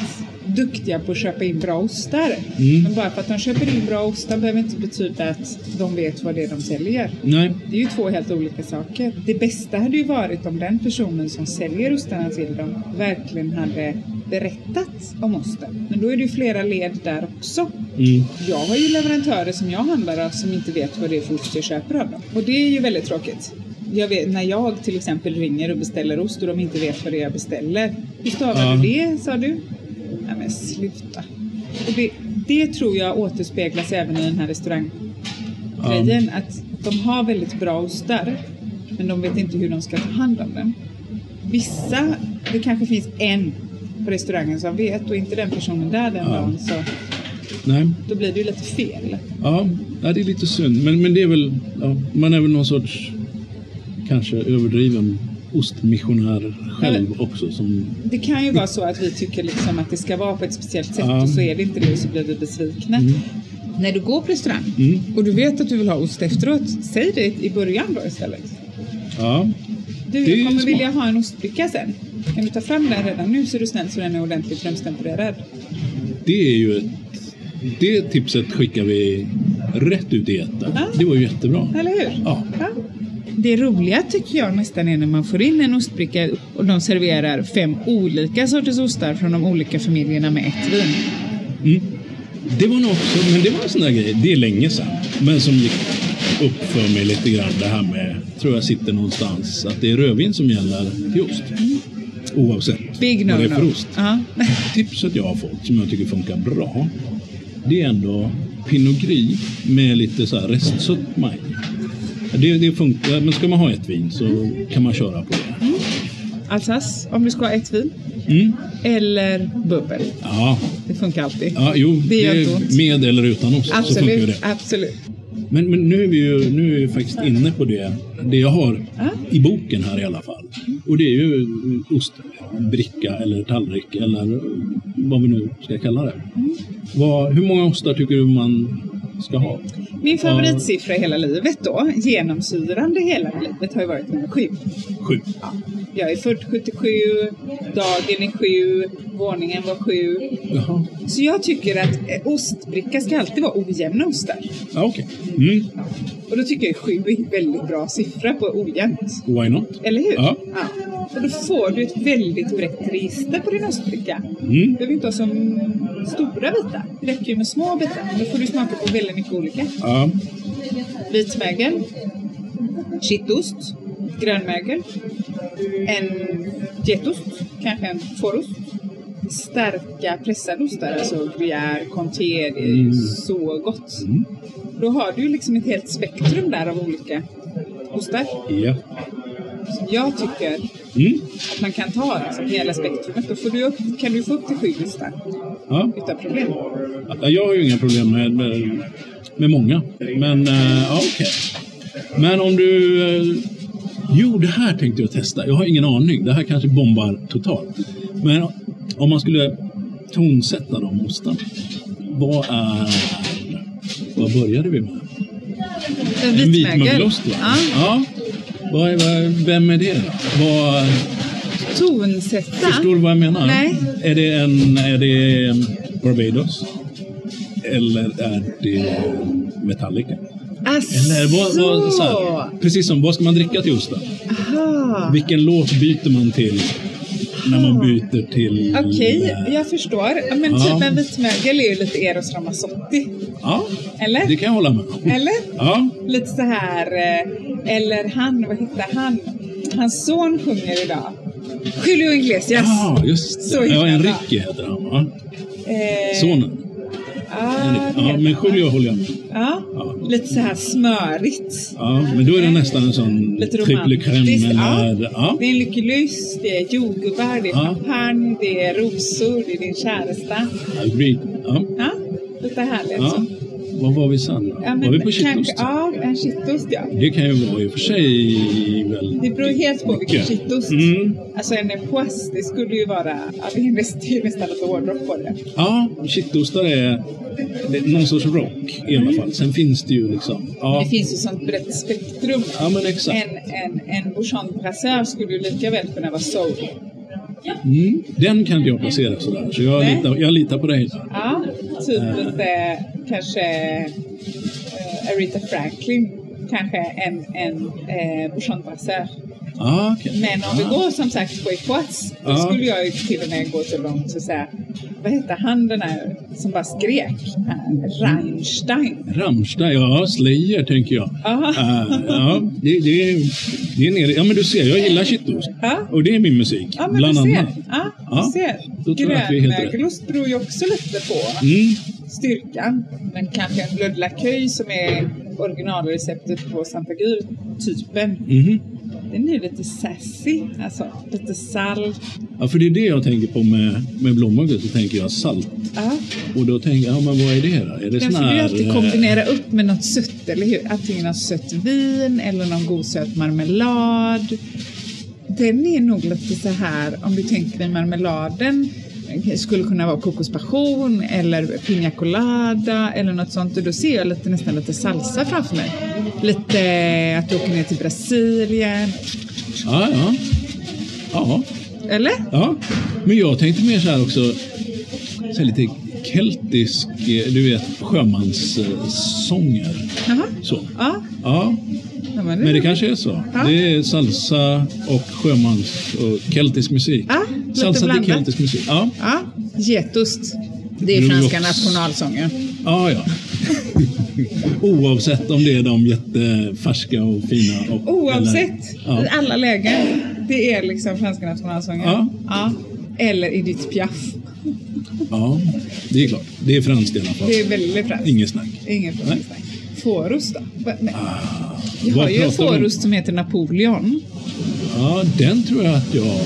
[SPEAKER 2] duktiga på att köpa in bra ostar.
[SPEAKER 1] Mm.
[SPEAKER 2] Men bara för att de köper in bra ostar behöver inte betyda att de vet vad det är de säljer.
[SPEAKER 1] Nej,
[SPEAKER 2] Det är ju två helt olika saker. Det bästa hade ju varit om den personen som säljer ostarna till dem verkligen hade berättat om osten. Men då är det ju flera led där också.
[SPEAKER 1] mm.
[SPEAKER 2] Jag har ju leverantörer som jag handlar av som inte vet vad det är för ost jag köper av dem. Och det är ju väldigt tråkigt. Jag vet, när jag till exempel ringer och beställer ost och de inte vet vad det är jag beställer. Hur stavar
[SPEAKER 1] Ja.
[SPEAKER 2] du det, sa du? Nej men sluta. Och det, det tror jag återspeglas även i den här restauranggrejen. Att de har väldigt bra ostar, men de vet inte hur de ska ta hand om den. Vissa, det kanske finns en på restaurangen som vet och inte den personen där den
[SPEAKER 1] Ja.
[SPEAKER 2] dagen så
[SPEAKER 1] nej.
[SPEAKER 2] då blir det ju lite fel.
[SPEAKER 1] Ja, ja, det är lite synd. Men, men det är väl, ja, man är väl någon sorts kanske överdriven ostmissionär själv också. Som,
[SPEAKER 2] Det kan ju vara så att vi tycker liksom att det ska vara på ett speciellt sätt
[SPEAKER 1] Ja.
[SPEAKER 2] och så är det inte det och så blir vi besvikna. När du går på restaurang
[SPEAKER 1] Mm.
[SPEAKER 2] och du vet att du vill ha ost efteråt, säg det i början då istället.
[SPEAKER 1] ja,
[SPEAKER 2] Du,
[SPEAKER 1] Det är ju
[SPEAKER 2] jag kommer
[SPEAKER 1] smart.
[SPEAKER 2] vilja ha en ostbricka sen. Kan du ta fram den redan nu så är du snäll så den är ordentligt rumstempererad?
[SPEAKER 1] det är ju ett, det tipset skickar vi rätt ut i etern.
[SPEAKER 2] Ja.
[SPEAKER 1] Det var ju jättebra.
[SPEAKER 2] Eller hur?
[SPEAKER 1] Ja.
[SPEAKER 2] Det roliga tycker jag nästan är när man får in en ostbricka och de serverar fem olika sorters ostar från de olika familjerna med ett vin.
[SPEAKER 1] Mm. Det var något som, men det var en sån där grej, det är länge sedan, men som gick upp för mig lite grann det här med, tror jag sitter någonstans, att det är rödvin som gäller till ost. Oavsett
[SPEAKER 2] Mm. Big no-no.
[SPEAKER 1] vad det är för ost.
[SPEAKER 2] Ja.
[SPEAKER 1] Tipset jag har fått som jag tycker funkar bra, det är ändå Pinot Gris med lite så här restsötma i. det, det funkar, men ska man ha ett vin så kan man köra på det.
[SPEAKER 2] Alsace, om du ska ha ett vin.
[SPEAKER 1] Mm.
[SPEAKER 2] Eller bubbel.
[SPEAKER 1] Ja,
[SPEAKER 2] Det funkar alltid.
[SPEAKER 1] ja, jo,
[SPEAKER 2] Det gör
[SPEAKER 1] det
[SPEAKER 2] inte ont.
[SPEAKER 1] är med eller utan ost så funkar ju
[SPEAKER 2] absolut,
[SPEAKER 1] det.
[SPEAKER 2] absolut.
[SPEAKER 1] Men, men nu är vi ju nu är vi faktiskt inne på det, det jag har i boken här i alla fall. Och det är ju ostbricka eller tallrik eller vad vi nu ska kalla det. Vad, hur många ostar tycker du man ska ha?
[SPEAKER 2] Min favoritsiffra i hela livet då, genomsyrande hela livet, har ju varit nummer sju.
[SPEAKER 1] Sju.
[SPEAKER 2] Jag är född 77, dagen är sju, våningen var sju.
[SPEAKER 1] Jaha.
[SPEAKER 2] Så jag tycker att eh, ostbricka ska alltid vara ojämna ostar.
[SPEAKER 1] Ja, okej. Mm.
[SPEAKER 2] Och då tycker jag sju är en väldigt bra siffra på ojämnt.
[SPEAKER 1] Why not?
[SPEAKER 2] Eller hur?
[SPEAKER 1] Ja.
[SPEAKER 2] Och då får du ett väldigt brett register på din ostbricka. Du
[SPEAKER 1] Mm.
[SPEAKER 2] behöver inte ha som stora bitar. Det räcker ju med små bitar. Då får du smaka på väldigt mycket olika.
[SPEAKER 1] Ja.
[SPEAKER 2] Vitmögel, kittost, grönmögel, en getost, kanske en fårost. Starka pressade ostar, alltså gruyère, comté, det är ju
[SPEAKER 1] Mm.
[SPEAKER 2] så gott.
[SPEAKER 1] Mm.
[SPEAKER 2] Då har du ju liksom ett helt spektrum där av olika ostar.
[SPEAKER 1] Ja.
[SPEAKER 2] som Jag tycker
[SPEAKER 1] Mm.
[SPEAKER 2] att man kan ta liksom hela spektrumet. Då får du upp, kan du få upp till sju listor
[SPEAKER 1] ja.
[SPEAKER 2] utan problem.
[SPEAKER 1] Ja, Jag har ju inga problem med, med, med många. Men, eh, ja, okej. Men om du... eh, jo, det här tänkte jag testa. Jag har ingen aning. Det här kanske bombar totalt. Men om man skulle tonsätta de ostarna. Vad är... Vad började vi med?
[SPEAKER 2] En
[SPEAKER 1] En
[SPEAKER 2] vitmögel.
[SPEAKER 1] vitmögelost, va?
[SPEAKER 2] Ja,
[SPEAKER 1] ja. Vad är, vad, vem är det då? Vad,
[SPEAKER 2] tonsätta.
[SPEAKER 1] Förstår du vad jag menar?
[SPEAKER 2] Nej.
[SPEAKER 1] Är det en... Är det Barbados? Eller är det Metallica? Eller vad, vad, så här, precis som, vad ska man dricka till osten?
[SPEAKER 2] Aha.
[SPEAKER 1] Vilken låt byter man till när man byter till...
[SPEAKER 2] Ah. Okej,
[SPEAKER 1] eh,
[SPEAKER 2] jag förstår. Ja, Men
[SPEAKER 1] Ja.
[SPEAKER 2] typ en vitmögel är ju lite Eros Ramazzotti.
[SPEAKER 1] Ja,
[SPEAKER 2] Eller?
[SPEAKER 1] det kan jag hålla med om.
[SPEAKER 2] Eller?
[SPEAKER 1] Ja,
[SPEAKER 2] Lite så här... eh, Eller han, vad heter han? Hans son sjunger idag. Julio Iglesias.
[SPEAKER 1] Ah, ja just
[SPEAKER 2] Så
[SPEAKER 1] det. Ja,
[SPEAKER 2] himla
[SPEAKER 1] Enrique heter han, va?
[SPEAKER 2] Eh,
[SPEAKER 1] Sonen.
[SPEAKER 2] Ja, det
[SPEAKER 1] Enrique.
[SPEAKER 2] heter
[SPEAKER 1] Ja,
[SPEAKER 2] han,
[SPEAKER 1] men
[SPEAKER 2] va?
[SPEAKER 1] Julio håller jag med.
[SPEAKER 2] Ja,
[SPEAKER 1] Ja.
[SPEAKER 2] lite så här smörigt.
[SPEAKER 1] Ja, men då är det nästan en sån
[SPEAKER 2] Eh, Lite
[SPEAKER 1] triple crème
[SPEAKER 2] romantiskt. Ja.
[SPEAKER 1] eller... Ja.
[SPEAKER 2] Det är en lyckig lust, det är jordgubbar, det är
[SPEAKER 1] Ja.
[SPEAKER 2] champagne, det är rosor, det är din käresta.
[SPEAKER 1] Agreed. Ja.
[SPEAKER 2] Ja, lite härligt.
[SPEAKER 1] Ja. Vad var vi sen då?
[SPEAKER 2] Ja,
[SPEAKER 1] var vi på
[SPEAKER 2] kanske-
[SPEAKER 1] kittost?
[SPEAKER 2] Ja, en kittost ja.
[SPEAKER 1] Det kan ju vara i och för sig väldigt
[SPEAKER 2] Det beror helt på vilken
[SPEAKER 1] mycket.
[SPEAKER 2] kittost.
[SPEAKER 1] Mm.
[SPEAKER 2] Alltså en poisse, det skulle ju vara... Ja, det är nästan, det är nästan ett hårdrock på det.
[SPEAKER 1] Ja, kittostar är det är någon sorts rock i alla fall. Sen finns det ju liksom... Ja,
[SPEAKER 2] Det finns ju sånt brett spektrum.
[SPEAKER 1] ja men exakt.
[SPEAKER 2] En, en, en bouchon brasseur skulle ju lika väl kunna vara soul.
[SPEAKER 1] Mm. Den kan inte jag placera sådär, så jag
[SPEAKER 2] Nej.
[SPEAKER 1] litar, jag litar på dig. där.
[SPEAKER 2] Ja, typ
[SPEAKER 1] Mm.
[SPEAKER 2] lite kanske eh, Aretha Franklin. Kanske en, en eh, bouchon brasseur.
[SPEAKER 1] Ja, okej.
[SPEAKER 2] Men om vi
[SPEAKER 1] Ja.
[SPEAKER 2] går som sagt på Equats, då
[SPEAKER 1] Ja.
[SPEAKER 2] skulle jag ju till och med gå så långt så att säga, vad hette han den här som bara skrek? Eh, Rammstein.
[SPEAKER 1] Rammstein, ja, Slayer tänker jag.
[SPEAKER 2] Aha.
[SPEAKER 1] Äh, ja, det, det, är- det är nere. Ja, men du ser, jag gillar kittost.
[SPEAKER 2] Ja.
[SPEAKER 1] Och det är min musik,
[SPEAKER 2] Ja, men
[SPEAKER 1] bland
[SPEAKER 2] du ser.
[SPEAKER 1] annat.
[SPEAKER 2] Ja,
[SPEAKER 1] Ja,
[SPEAKER 2] du
[SPEAKER 1] då
[SPEAKER 2] ser.
[SPEAKER 1] tror jag att vi är helt rätt.
[SPEAKER 2] Grönmögelost beror ju också lite på
[SPEAKER 1] Mm.
[SPEAKER 2] styrkan. Men kanske en Bleu de la Cueille som är originalreceptet på Santa Gry-typen.
[SPEAKER 1] mhm.
[SPEAKER 2] Den är ju lite sassy, alltså lite salt.
[SPEAKER 1] Ja, för det är det jag tänker på med, med blommögel, så tänker jag salt.
[SPEAKER 2] Ja.
[SPEAKER 1] Och då tänker jag, ja, men vad är det då? Är det
[SPEAKER 2] Den
[SPEAKER 1] sån
[SPEAKER 2] får du
[SPEAKER 1] här...
[SPEAKER 2] ju alltid
[SPEAKER 1] eh,
[SPEAKER 2] kombinera upp med något sött, eller hur? Antingen något sött vin eller någon god söt marmelad. Den är nog lite så här, om du tänker dig marmeladen, eh, skulle kunna vara kokospassion eller piña colada eller något sånt. Och då ser jag lite, nästan lite salsa framför mig. Lite att du åker ner till Brasilien.
[SPEAKER 1] Ja, ja. Ja,
[SPEAKER 2] Eller?
[SPEAKER 1] ja. Men jag tänkte mer så här också, så här lite keltisk, eh, du vet, sjömanssånger.
[SPEAKER 2] Jaha.
[SPEAKER 1] Så.
[SPEAKER 2] Ja.
[SPEAKER 1] Ja,
[SPEAKER 2] ja, men
[SPEAKER 1] men det kanske är så.
[SPEAKER 2] Ja.
[SPEAKER 1] Det är salsa och sjömans och keltisk musik.
[SPEAKER 2] Ja, lite
[SPEAKER 1] salsa till
[SPEAKER 2] blandat.
[SPEAKER 1] keltisk musik. Ja,
[SPEAKER 2] Ja, getost. Det är
[SPEAKER 1] New
[SPEAKER 2] franska
[SPEAKER 1] Yorks-
[SPEAKER 2] nationalsången.
[SPEAKER 1] ja. ja. Oavsett om det är de jättefärska och fina. Och,
[SPEAKER 2] Oavsett,
[SPEAKER 1] Eller, ja.
[SPEAKER 2] i alla lägen. Det är liksom franska nationalsången.
[SPEAKER 1] Ja.
[SPEAKER 2] Ja. Eller Edith Piaf.
[SPEAKER 1] ja, det är klart. Det är franskt i alla fall.
[SPEAKER 2] Det är väldigt franskt.
[SPEAKER 1] Inget snack.
[SPEAKER 2] Ingen
[SPEAKER 1] Nej. Ah.
[SPEAKER 2] franskt. Fårost då? Va- Men, jag
[SPEAKER 1] Vad
[SPEAKER 2] har ju en
[SPEAKER 1] pratar vi om?
[SPEAKER 2] fårost som heter Napoleon.
[SPEAKER 1] Ja, den tror jag att jag...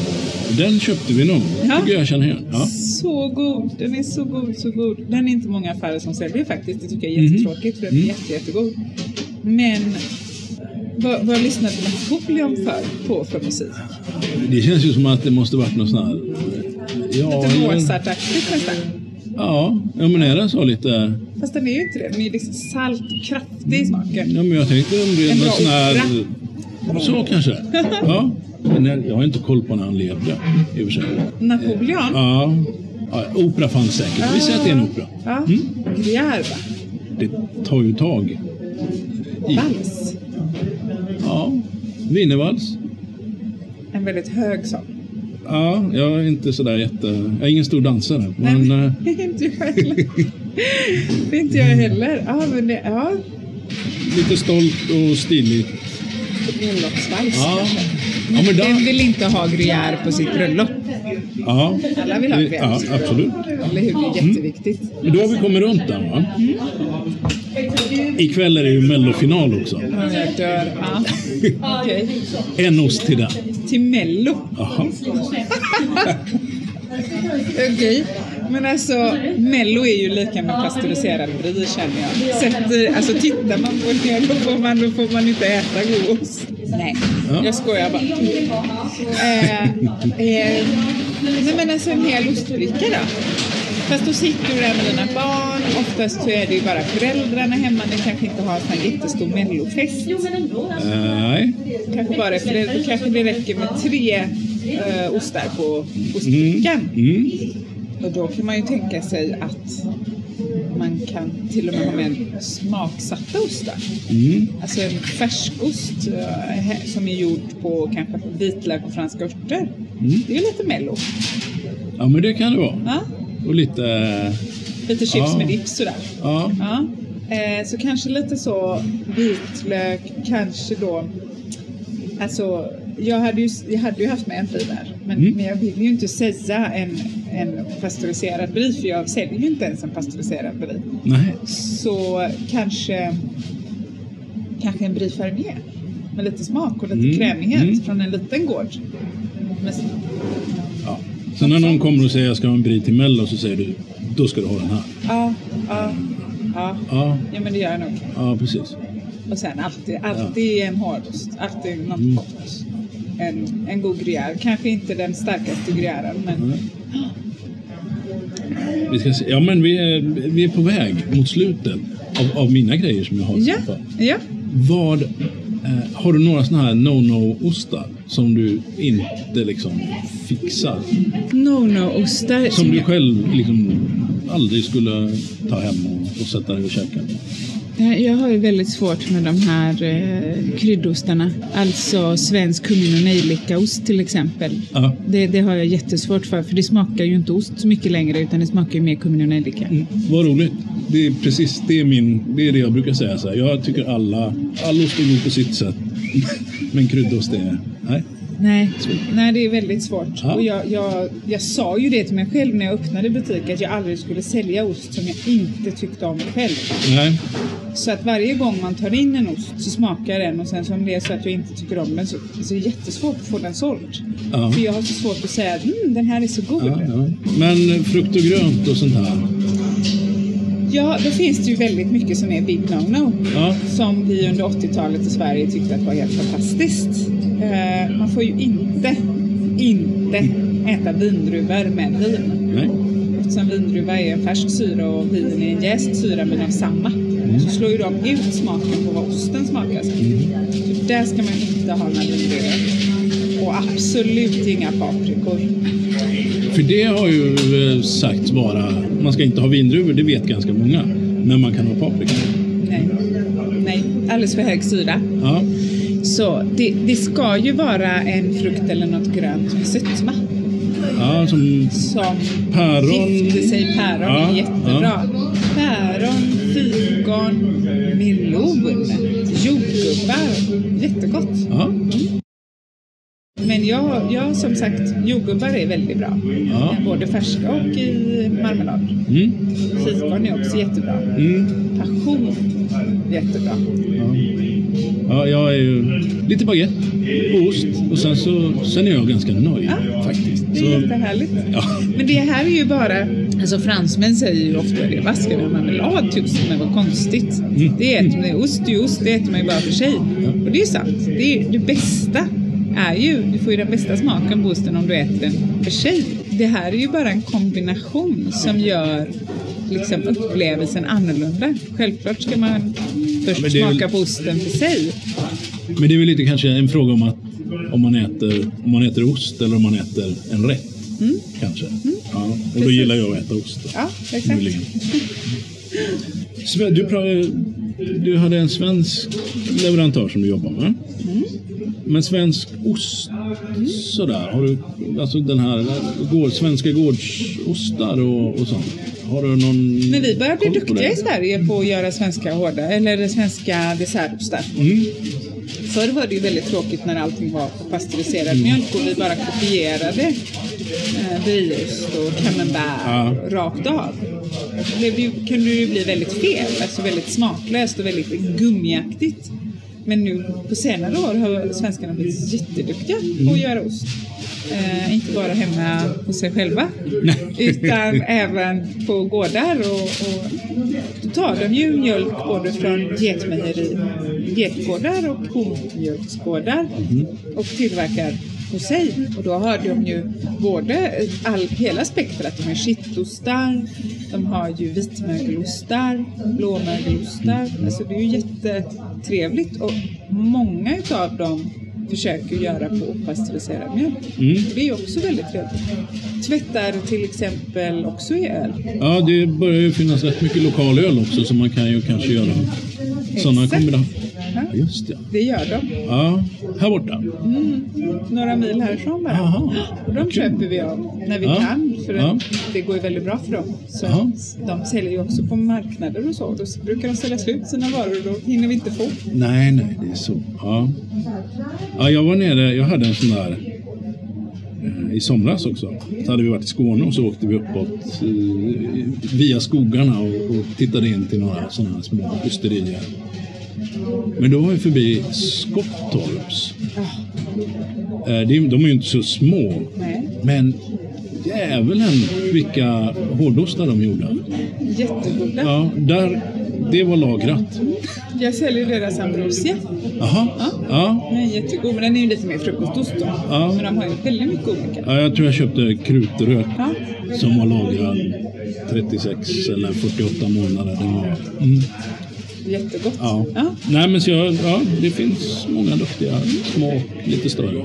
[SPEAKER 1] Den köpte vi nog.
[SPEAKER 2] Ja.
[SPEAKER 1] tycker jag känner igen. Ja.
[SPEAKER 2] Så god. Den är så god, så god. Den är inte många affärer som säljer faktiskt. Det tycker jag är
[SPEAKER 1] Mhm.
[SPEAKER 2] jättetråkigt för den
[SPEAKER 1] Mm.
[SPEAKER 2] är jätte, jättegod. Men vad, vad lyssnade Napoleon för, på för musik?
[SPEAKER 1] Det känns ju som att det måste varit någon sån här... Ja,
[SPEAKER 2] Lite
[SPEAKER 1] eller-
[SPEAKER 2] Mozart-aktigt nästan.
[SPEAKER 1] ja, ja, men är den så lite...
[SPEAKER 2] Fast den är ju inte det. Den är ju liksom salt, kraftig i smaken.
[SPEAKER 1] Ja, men jag tänkte om det är
[SPEAKER 2] En
[SPEAKER 1] någon
[SPEAKER 2] bra
[SPEAKER 1] sån här... Så kanske. Ja. Men jag- jag har inte koll på när han levde, i och för sig.
[SPEAKER 2] Napoleon?
[SPEAKER 1] Ja. ja opera Mm. fanns säkert. Vi säger att det är en opera.
[SPEAKER 2] Ja. Gruyère va?
[SPEAKER 1] Det tar ju tag. I-
[SPEAKER 2] Vals.
[SPEAKER 1] Ja, wienervals.
[SPEAKER 2] En väldigt hög sång.
[SPEAKER 1] Ja, jag är inte sådär jätte... Jag är ingen stor dansare. Men, eh,
[SPEAKER 2] det är inte jag heller. det är inte jag heller. Ja, men det, ja.
[SPEAKER 1] lite stolt och stilig.
[SPEAKER 2] Bröllopsvals
[SPEAKER 1] Ja.
[SPEAKER 2] kanske.
[SPEAKER 1] Ja, men
[SPEAKER 2] Vem
[SPEAKER 1] där,
[SPEAKER 2] vill inte ha gruyère på sitt bröllop?
[SPEAKER 1] ja,
[SPEAKER 2] Alla vill ha
[SPEAKER 1] det-
[SPEAKER 2] gruyère på
[SPEAKER 1] ja, Mm.
[SPEAKER 2] sitt bröllop.
[SPEAKER 1] absolut.
[SPEAKER 2] Eller hur? Det är jätteviktigt.
[SPEAKER 1] Men Då har vi kommit runt den va? Ikväll är det ju mellofinal också.
[SPEAKER 2] Ja, Jag dör. Ja. Okej.
[SPEAKER 1] En ost till den.
[SPEAKER 2] Till Mello.
[SPEAKER 1] Jaha.
[SPEAKER 2] Okej. Men alltså, Mello är ju lika med pasteuriserad brie känner jag. Sätter, alltså tittar man på det då får man, då får man inte äta god ost. Nej,
[SPEAKER 1] Ja.
[SPEAKER 2] jag skojar bara. Eh, eh, nej men alltså en hel ostbricka då. Fast då sitter du där med dina barn. Oftast så är det ju bara föräldrarna hemma. Ni kanske inte har en sån här jättestor mellofest.
[SPEAKER 1] Nej.
[SPEAKER 2] Kanske bara för det, kanske det räcker med tre eh, ostar på ostbrickan.
[SPEAKER 1] Mm.
[SPEAKER 2] Och då kan man ju tänka sig att man kan till och med ha med en smaksatta ostar.
[SPEAKER 1] Mm.
[SPEAKER 2] Alltså en färskost eh, hä- som är gjord på kanske vitlök och franska örter.
[SPEAKER 1] Mm.
[SPEAKER 2] Det är ju lite mello.
[SPEAKER 1] Ja men det kan det vara.
[SPEAKER 2] Ja?
[SPEAKER 1] Och lite...
[SPEAKER 2] Lite chips
[SPEAKER 1] Ja.
[SPEAKER 2] med dips sådär.
[SPEAKER 1] Ja.
[SPEAKER 2] Ja. Eh, så kanske lite så vitlök, kanske då... Alltså, jag hade ju, jag hade ju haft med en brie där. Men,
[SPEAKER 1] Mm.
[SPEAKER 2] men jag vill ju inte säga en, en pasteuriserad brie för jag säljer ju inte ens en pasteuriserad brie.
[SPEAKER 1] Nej.
[SPEAKER 2] så kanske, kanske en brie fermier med lite smak och lite
[SPEAKER 1] Mm,
[SPEAKER 2] krämighet
[SPEAKER 1] mm.
[SPEAKER 2] från en liten gård. Men,
[SPEAKER 1] Ja. Så när någon kommer och säger jag ska ha en brie till mello så säger du då ska du ha den här.
[SPEAKER 2] ja, ja, ja,
[SPEAKER 1] Ja,
[SPEAKER 2] ja, men det gör jag nog.
[SPEAKER 1] ja precis.
[SPEAKER 2] Och sen alltid, alltid en hårdost, alltid något
[SPEAKER 1] Mm.
[SPEAKER 2] gott. En, en god gruyère, kanske inte den starkaste gruyären men
[SPEAKER 1] Mm. Vi ska se. Ja men vi är, vi är på väg mot slutet av, av mina grejer som jag har.
[SPEAKER 2] ja, ja.
[SPEAKER 1] Vad, eh, har du några sådana här no-no-ostar som du inte liksom fixar?
[SPEAKER 2] No-no-ostar.
[SPEAKER 1] Som du själv liksom aldrig skulle ta hem och, och sätta dig och käka?
[SPEAKER 2] Eh, Jag har ju väldigt svårt med de här eh, kryddostarna. Alltså svensk kummin och nejlikaost till exempel.
[SPEAKER 1] Ja.
[SPEAKER 2] Det, det har jag jättesvårt för, för det smakar ju inte ost så mycket längre utan det smakar ju mer kummin och nejlika.
[SPEAKER 1] Mm, Vad roligt. Det är precis det, är min, det är det jag brukar säga. Så här. Jag tycker alla, all ost är god på sitt sätt. Men kryddost är... Nej.
[SPEAKER 2] Nej, nej, det är väldigt svårt.
[SPEAKER 1] Ja.
[SPEAKER 2] Och jag, jag, jag sa ju det till mig själv när jag öppnade butiken att jag aldrig skulle sälja ost som jag inte tyckte om själv.
[SPEAKER 1] Nej.
[SPEAKER 2] Så att varje gång man tar in en ost så smakar den och sen så om det är så att jag inte tycker om den så, så är det jättesvårt att få den såld.
[SPEAKER 1] Ja.
[SPEAKER 2] För jag har så svårt att säga att mm, den här är så god.
[SPEAKER 1] Ja, ja. Men frukt och grönt och sånt här.
[SPEAKER 2] Ja, då finns det ju väldigt mycket som är big no-no.
[SPEAKER 1] Ja.
[SPEAKER 2] Som vi under 80-talet i Sverige tyckte att var helt fantastiskt. Eh, man får ju inte, inte äta vindruvor med vin.
[SPEAKER 1] Nej.
[SPEAKER 2] Eftersom vindruva är en färsk syra och vin är en jäst syra men av samma. Så slår ju de ut smaken på vad osten smakar som. Så där ska man inte ha några vindruvor. Och absolut inga paprikor.
[SPEAKER 1] För det har ju eh, sagts vara... Man ska inte ha vindruvor, det vet ganska många. Men man kan ha paprika.
[SPEAKER 2] Nej, Nej. alldeles för hög syra.
[SPEAKER 1] Ja.
[SPEAKER 2] Så det, det ska ju vara en frukt eller något grönt med sötma.
[SPEAKER 1] ja, som
[SPEAKER 2] Som
[SPEAKER 1] päron.
[SPEAKER 2] gifter sig päron
[SPEAKER 1] Ja,
[SPEAKER 2] är jättebra. Päron, fikon, melon, jordgubbar. Jättegott.
[SPEAKER 1] Ja.
[SPEAKER 2] Men jag, jag som sagt, jordgubbar är väldigt bra.
[SPEAKER 1] Ja.
[SPEAKER 2] Både färska och i marmelad.
[SPEAKER 1] Mm.
[SPEAKER 2] Fikon är också jättebra.
[SPEAKER 1] Mm.
[SPEAKER 2] Passion, jättebra.
[SPEAKER 1] Ja. ja, jag är ju lite baguette och ost och sen så sen är jag ganska nöjd
[SPEAKER 2] Ja.
[SPEAKER 1] faktiskt.
[SPEAKER 2] Det
[SPEAKER 1] Så,
[SPEAKER 2] är jättehärligt.
[SPEAKER 1] ja.
[SPEAKER 2] Men det här är ju bara... Alltså fransmän säger ju ofta det. Vad ska vi ha marmelad till ost? Men vad konstigt.
[SPEAKER 1] Mm.
[SPEAKER 2] Det äter man, ost är ju ost, det äter man ju bara för sig. Och det är ju sant. Det, är, det bästa är ju, du får ju den bästa smaken på osten om du äter den för sig. Det här är ju bara en kombination som gör liksom upplevelsen annorlunda. Självklart ska man först
[SPEAKER 1] men det är väl-
[SPEAKER 2] smaka på osten för sig.
[SPEAKER 1] Men det är väl lite kanske en fråga om att om man äter, om man äter ost eller om man äter en rätt. Kanske. Ja, och då
[SPEAKER 2] Mm. Precis.
[SPEAKER 1] gillar jag att äta ost. då,
[SPEAKER 2] Ja, exakt.
[SPEAKER 1] möjligen. Sven, du pra- Du hade en svensk leverantör som du jobbar med.
[SPEAKER 2] Mm.
[SPEAKER 1] Men svensk ost, sådär. Har du, alltså den här gård, svenska gårdsostar och, och sånt. Har du någon
[SPEAKER 2] Men vi börjar bli
[SPEAKER 1] koll på
[SPEAKER 2] duktiga
[SPEAKER 1] det?
[SPEAKER 2] i Sverige på att göra svenska hårda, eller svenska dessertostar.
[SPEAKER 1] Mm.
[SPEAKER 2] Förr var det ju väldigt tråkigt när allting var på pasteuriserad mjölk och vi bara kopierade eh, brieost och camembert
[SPEAKER 1] Ja.
[SPEAKER 2] rakt av. Det blev ju- kunde det ju bli väldigt fel, alltså väldigt smaklöst och väldigt gummiaktigt. Men nu på senare år har svenskarna blivit jätteduktiga på att göra ost. Eh, inte bara hemma hos sig själva, utan även på gårdar. Och, och då tar de ju mjölk både från getmejeri, getgårdar och komjölksgårdar och tillverkar hos sig. Och då har de ju både all, hela spektrat. De har shittostar, de har ju vitmögelostar, blåmögelostar. Alltså det är ju jättetrevligt och många utav dem försöker göra på opastöriserad mjölk.
[SPEAKER 1] Mm.
[SPEAKER 2] Det är ju också väldigt trevligt. Tvättar till exempel också i öl.
[SPEAKER 1] Ja, det börjar ju finnas rätt mycket lokal öl också så man kan ju kanske göra sådana
[SPEAKER 2] Exakt.
[SPEAKER 1] kombinationer.
[SPEAKER 2] Ja,
[SPEAKER 1] Ja, just det.
[SPEAKER 2] Det gör de.
[SPEAKER 1] Ja, här borta.
[SPEAKER 2] Mm, några mil härifrån bara.
[SPEAKER 1] Jaha,
[SPEAKER 2] Och de
[SPEAKER 1] vad kul.
[SPEAKER 2] köper vi av när vi
[SPEAKER 1] Ja,
[SPEAKER 2] kan, för
[SPEAKER 1] ja.
[SPEAKER 2] det går ju väldigt bra för dem. Så
[SPEAKER 1] Jaha.
[SPEAKER 2] De säljer ju också på marknader och så. Då brukar de sälja slut sina varor och då hinner vi inte få.
[SPEAKER 1] Nej, nej, det är så. Ja. Ja, jag var nere, jag hade en sån där eh, i somras också. Så hade vi varit i Skåne och så åkte vi uppåt eh, via skogarna och, och tittade in till några sådana här små ysterier. Men då var vi förbi Skottorps. Eh, det är- De är ju inte så små,
[SPEAKER 2] Nej.
[SPEAKER 1] men djävulen vilka hårdostar de gjorde.
[SPEAKER 2] Jättegoda.
[SPEAKER 1] Ja, där, det var lagrat.
[SPEAKER 2] Jag säljer deras ambrosia.
[SPEAKER 1] Jaha, ja.
[SPEAKER 2] Den är jättegod, men den är ju lite mer frukostost då.
[SPEAKER 1] Ja.
[SPEAKER 2] Men de har ju väldigt mycket olika.
[SPEAKER 1] Ja, jag tror jag köpte krutrök
[SPEAKER 2] Ja.
[SPEAKER 1] som var lagrad 36 eller 48 månader. Den var, mm,
[SPEAKER 2] Jättegott.
[SPEAKER 1] ja.
[SPEAKER 2] Ja.
[SPEAKER 1] Nej, men så jag, ja, det finns många duktiga små och lite större.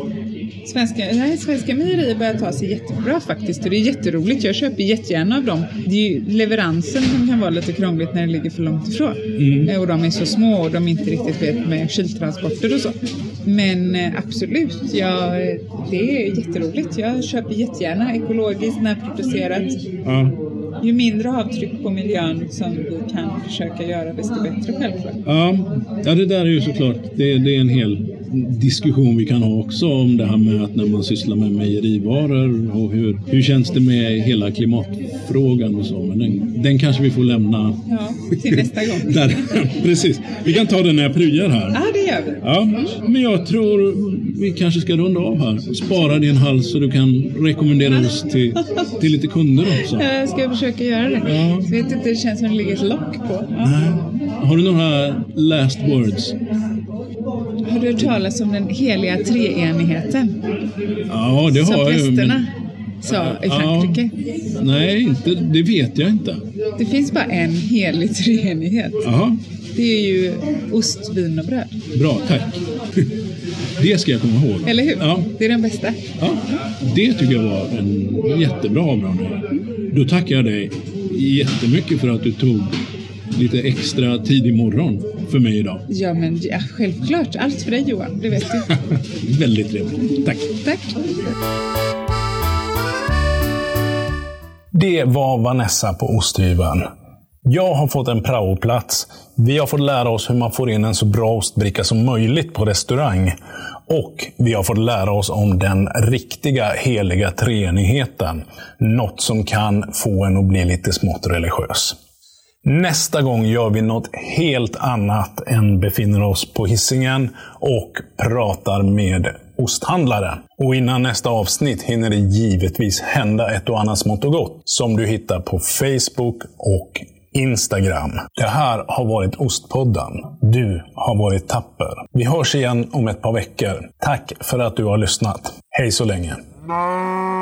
[SPEAKER 2] Svenska, nej, svenska mejerier börjar ta sig jättebra faktiskt och det är jätteroligt. Jag köper jättegärna av dem. Det är ju leveransen som kan vara lite krångligt när det ligger för långt ifrån. Eh, Och de är så små och de inte riktigt vet med kyltransporter och så. Men eh, absolut, ja, eh, det är jätteroligt. Jag köper jättegärna ekologiskt, närproducerat.
[SPEAKER 1] Ja,
[SPEAKER 2] Ju mindre avtryck på miljön som vi kan försöka göra desto bättre självklart.
[SPEAKER 1] ja, ja det där är ju såklart, det, det är en hel diskussion vi kan ha också om det här med att när man sysslar med mejerivaror och hur, hur känns det med hela klimatfrågan och så. Men den, den kanske vi får lämna
[SPEAKER 2] Ja, till nästa gång.
[SPEAKER 1] där. Precis, vi kan ta den när jag pryar här.
[SPEAKER 2] Ja, det gör vi.
[SPEAKER 1] Ja, men jag tror vi kanske ska runda av här. Spara din hals så du kan rekommendera oss till, till lite kunder också.
[SPEAKER 2] Jag ska försöka göra det.
[SPEAKER 1] Ja.
[SPEAKER 2] Jag vet inte, det känns som det ligger ett lock på. Ja.
[SPEAKER 1] Nej. Har du några last words?
[SPEAKER 2] Har du hört talas om den heliga treenigheten?
[SPEAKER 1] Ja, det
[SPEAKER 2] som
[SPEAKER 1] har jag ju.
[SPEAKER 2] prästerna
[SPEAKER 1] men-
[SPEAKER 2] sa i
[SPEAKER 1] Ja.
[SPEAKER 2] Frankrike.
[SPEAKER 1] Nej, inte, det vet jag inte.
[SPEAKER 2] Det finns bara en helig treenighet.
[SPEAKER 1] Jaha,
[SPEAKER 2] Det är ju ost, vin och bröd.
[SPEAKER 1] bra, tack. Det ska jag komma ihåg.
[SPEAKER 2] Eller hur?
[SPEAKER 1] Ja,
[SPEAKER 2] Det är den bästa.
[SPEAKER 1] ja. Det tycker jag var en jättebra avrundning. Då tackar jag dig jättemycket för att du tog lite extra tid i morgon för mig idag.
[SPEAKER 2] Ja, men ja, självklart. Allt för dig Johan, det vet du.
[SPEAKER 1] Väldigt trevligt. Tack.
[SPEAKER 2] Tack.
[SPEAKER 3] Det var Vanessa på Osthyveln. Jag har fått en praoplats. Vi har fått lära oss hur man får in en så bra ostbricka som möjligt på restaurang. Och vi har fått lära oss om den riktiga heliga treenigheten. Något som kan få en att bli lite smått religiös. Nästa gång gör vi något helt annat än befinner oss på hissingen och pratar med osthandlare. Och innan nästa avsnitt hinner det givetvis hända ett och annat smått och gott som du hittar på Facebook och Instagram. Det här har varit Ostpodden. Du har varit tapper. Vi hörs igen om ett par veckor. Tack för att du har lyssnat. Hej så länge!
[SPEAKER 4] No.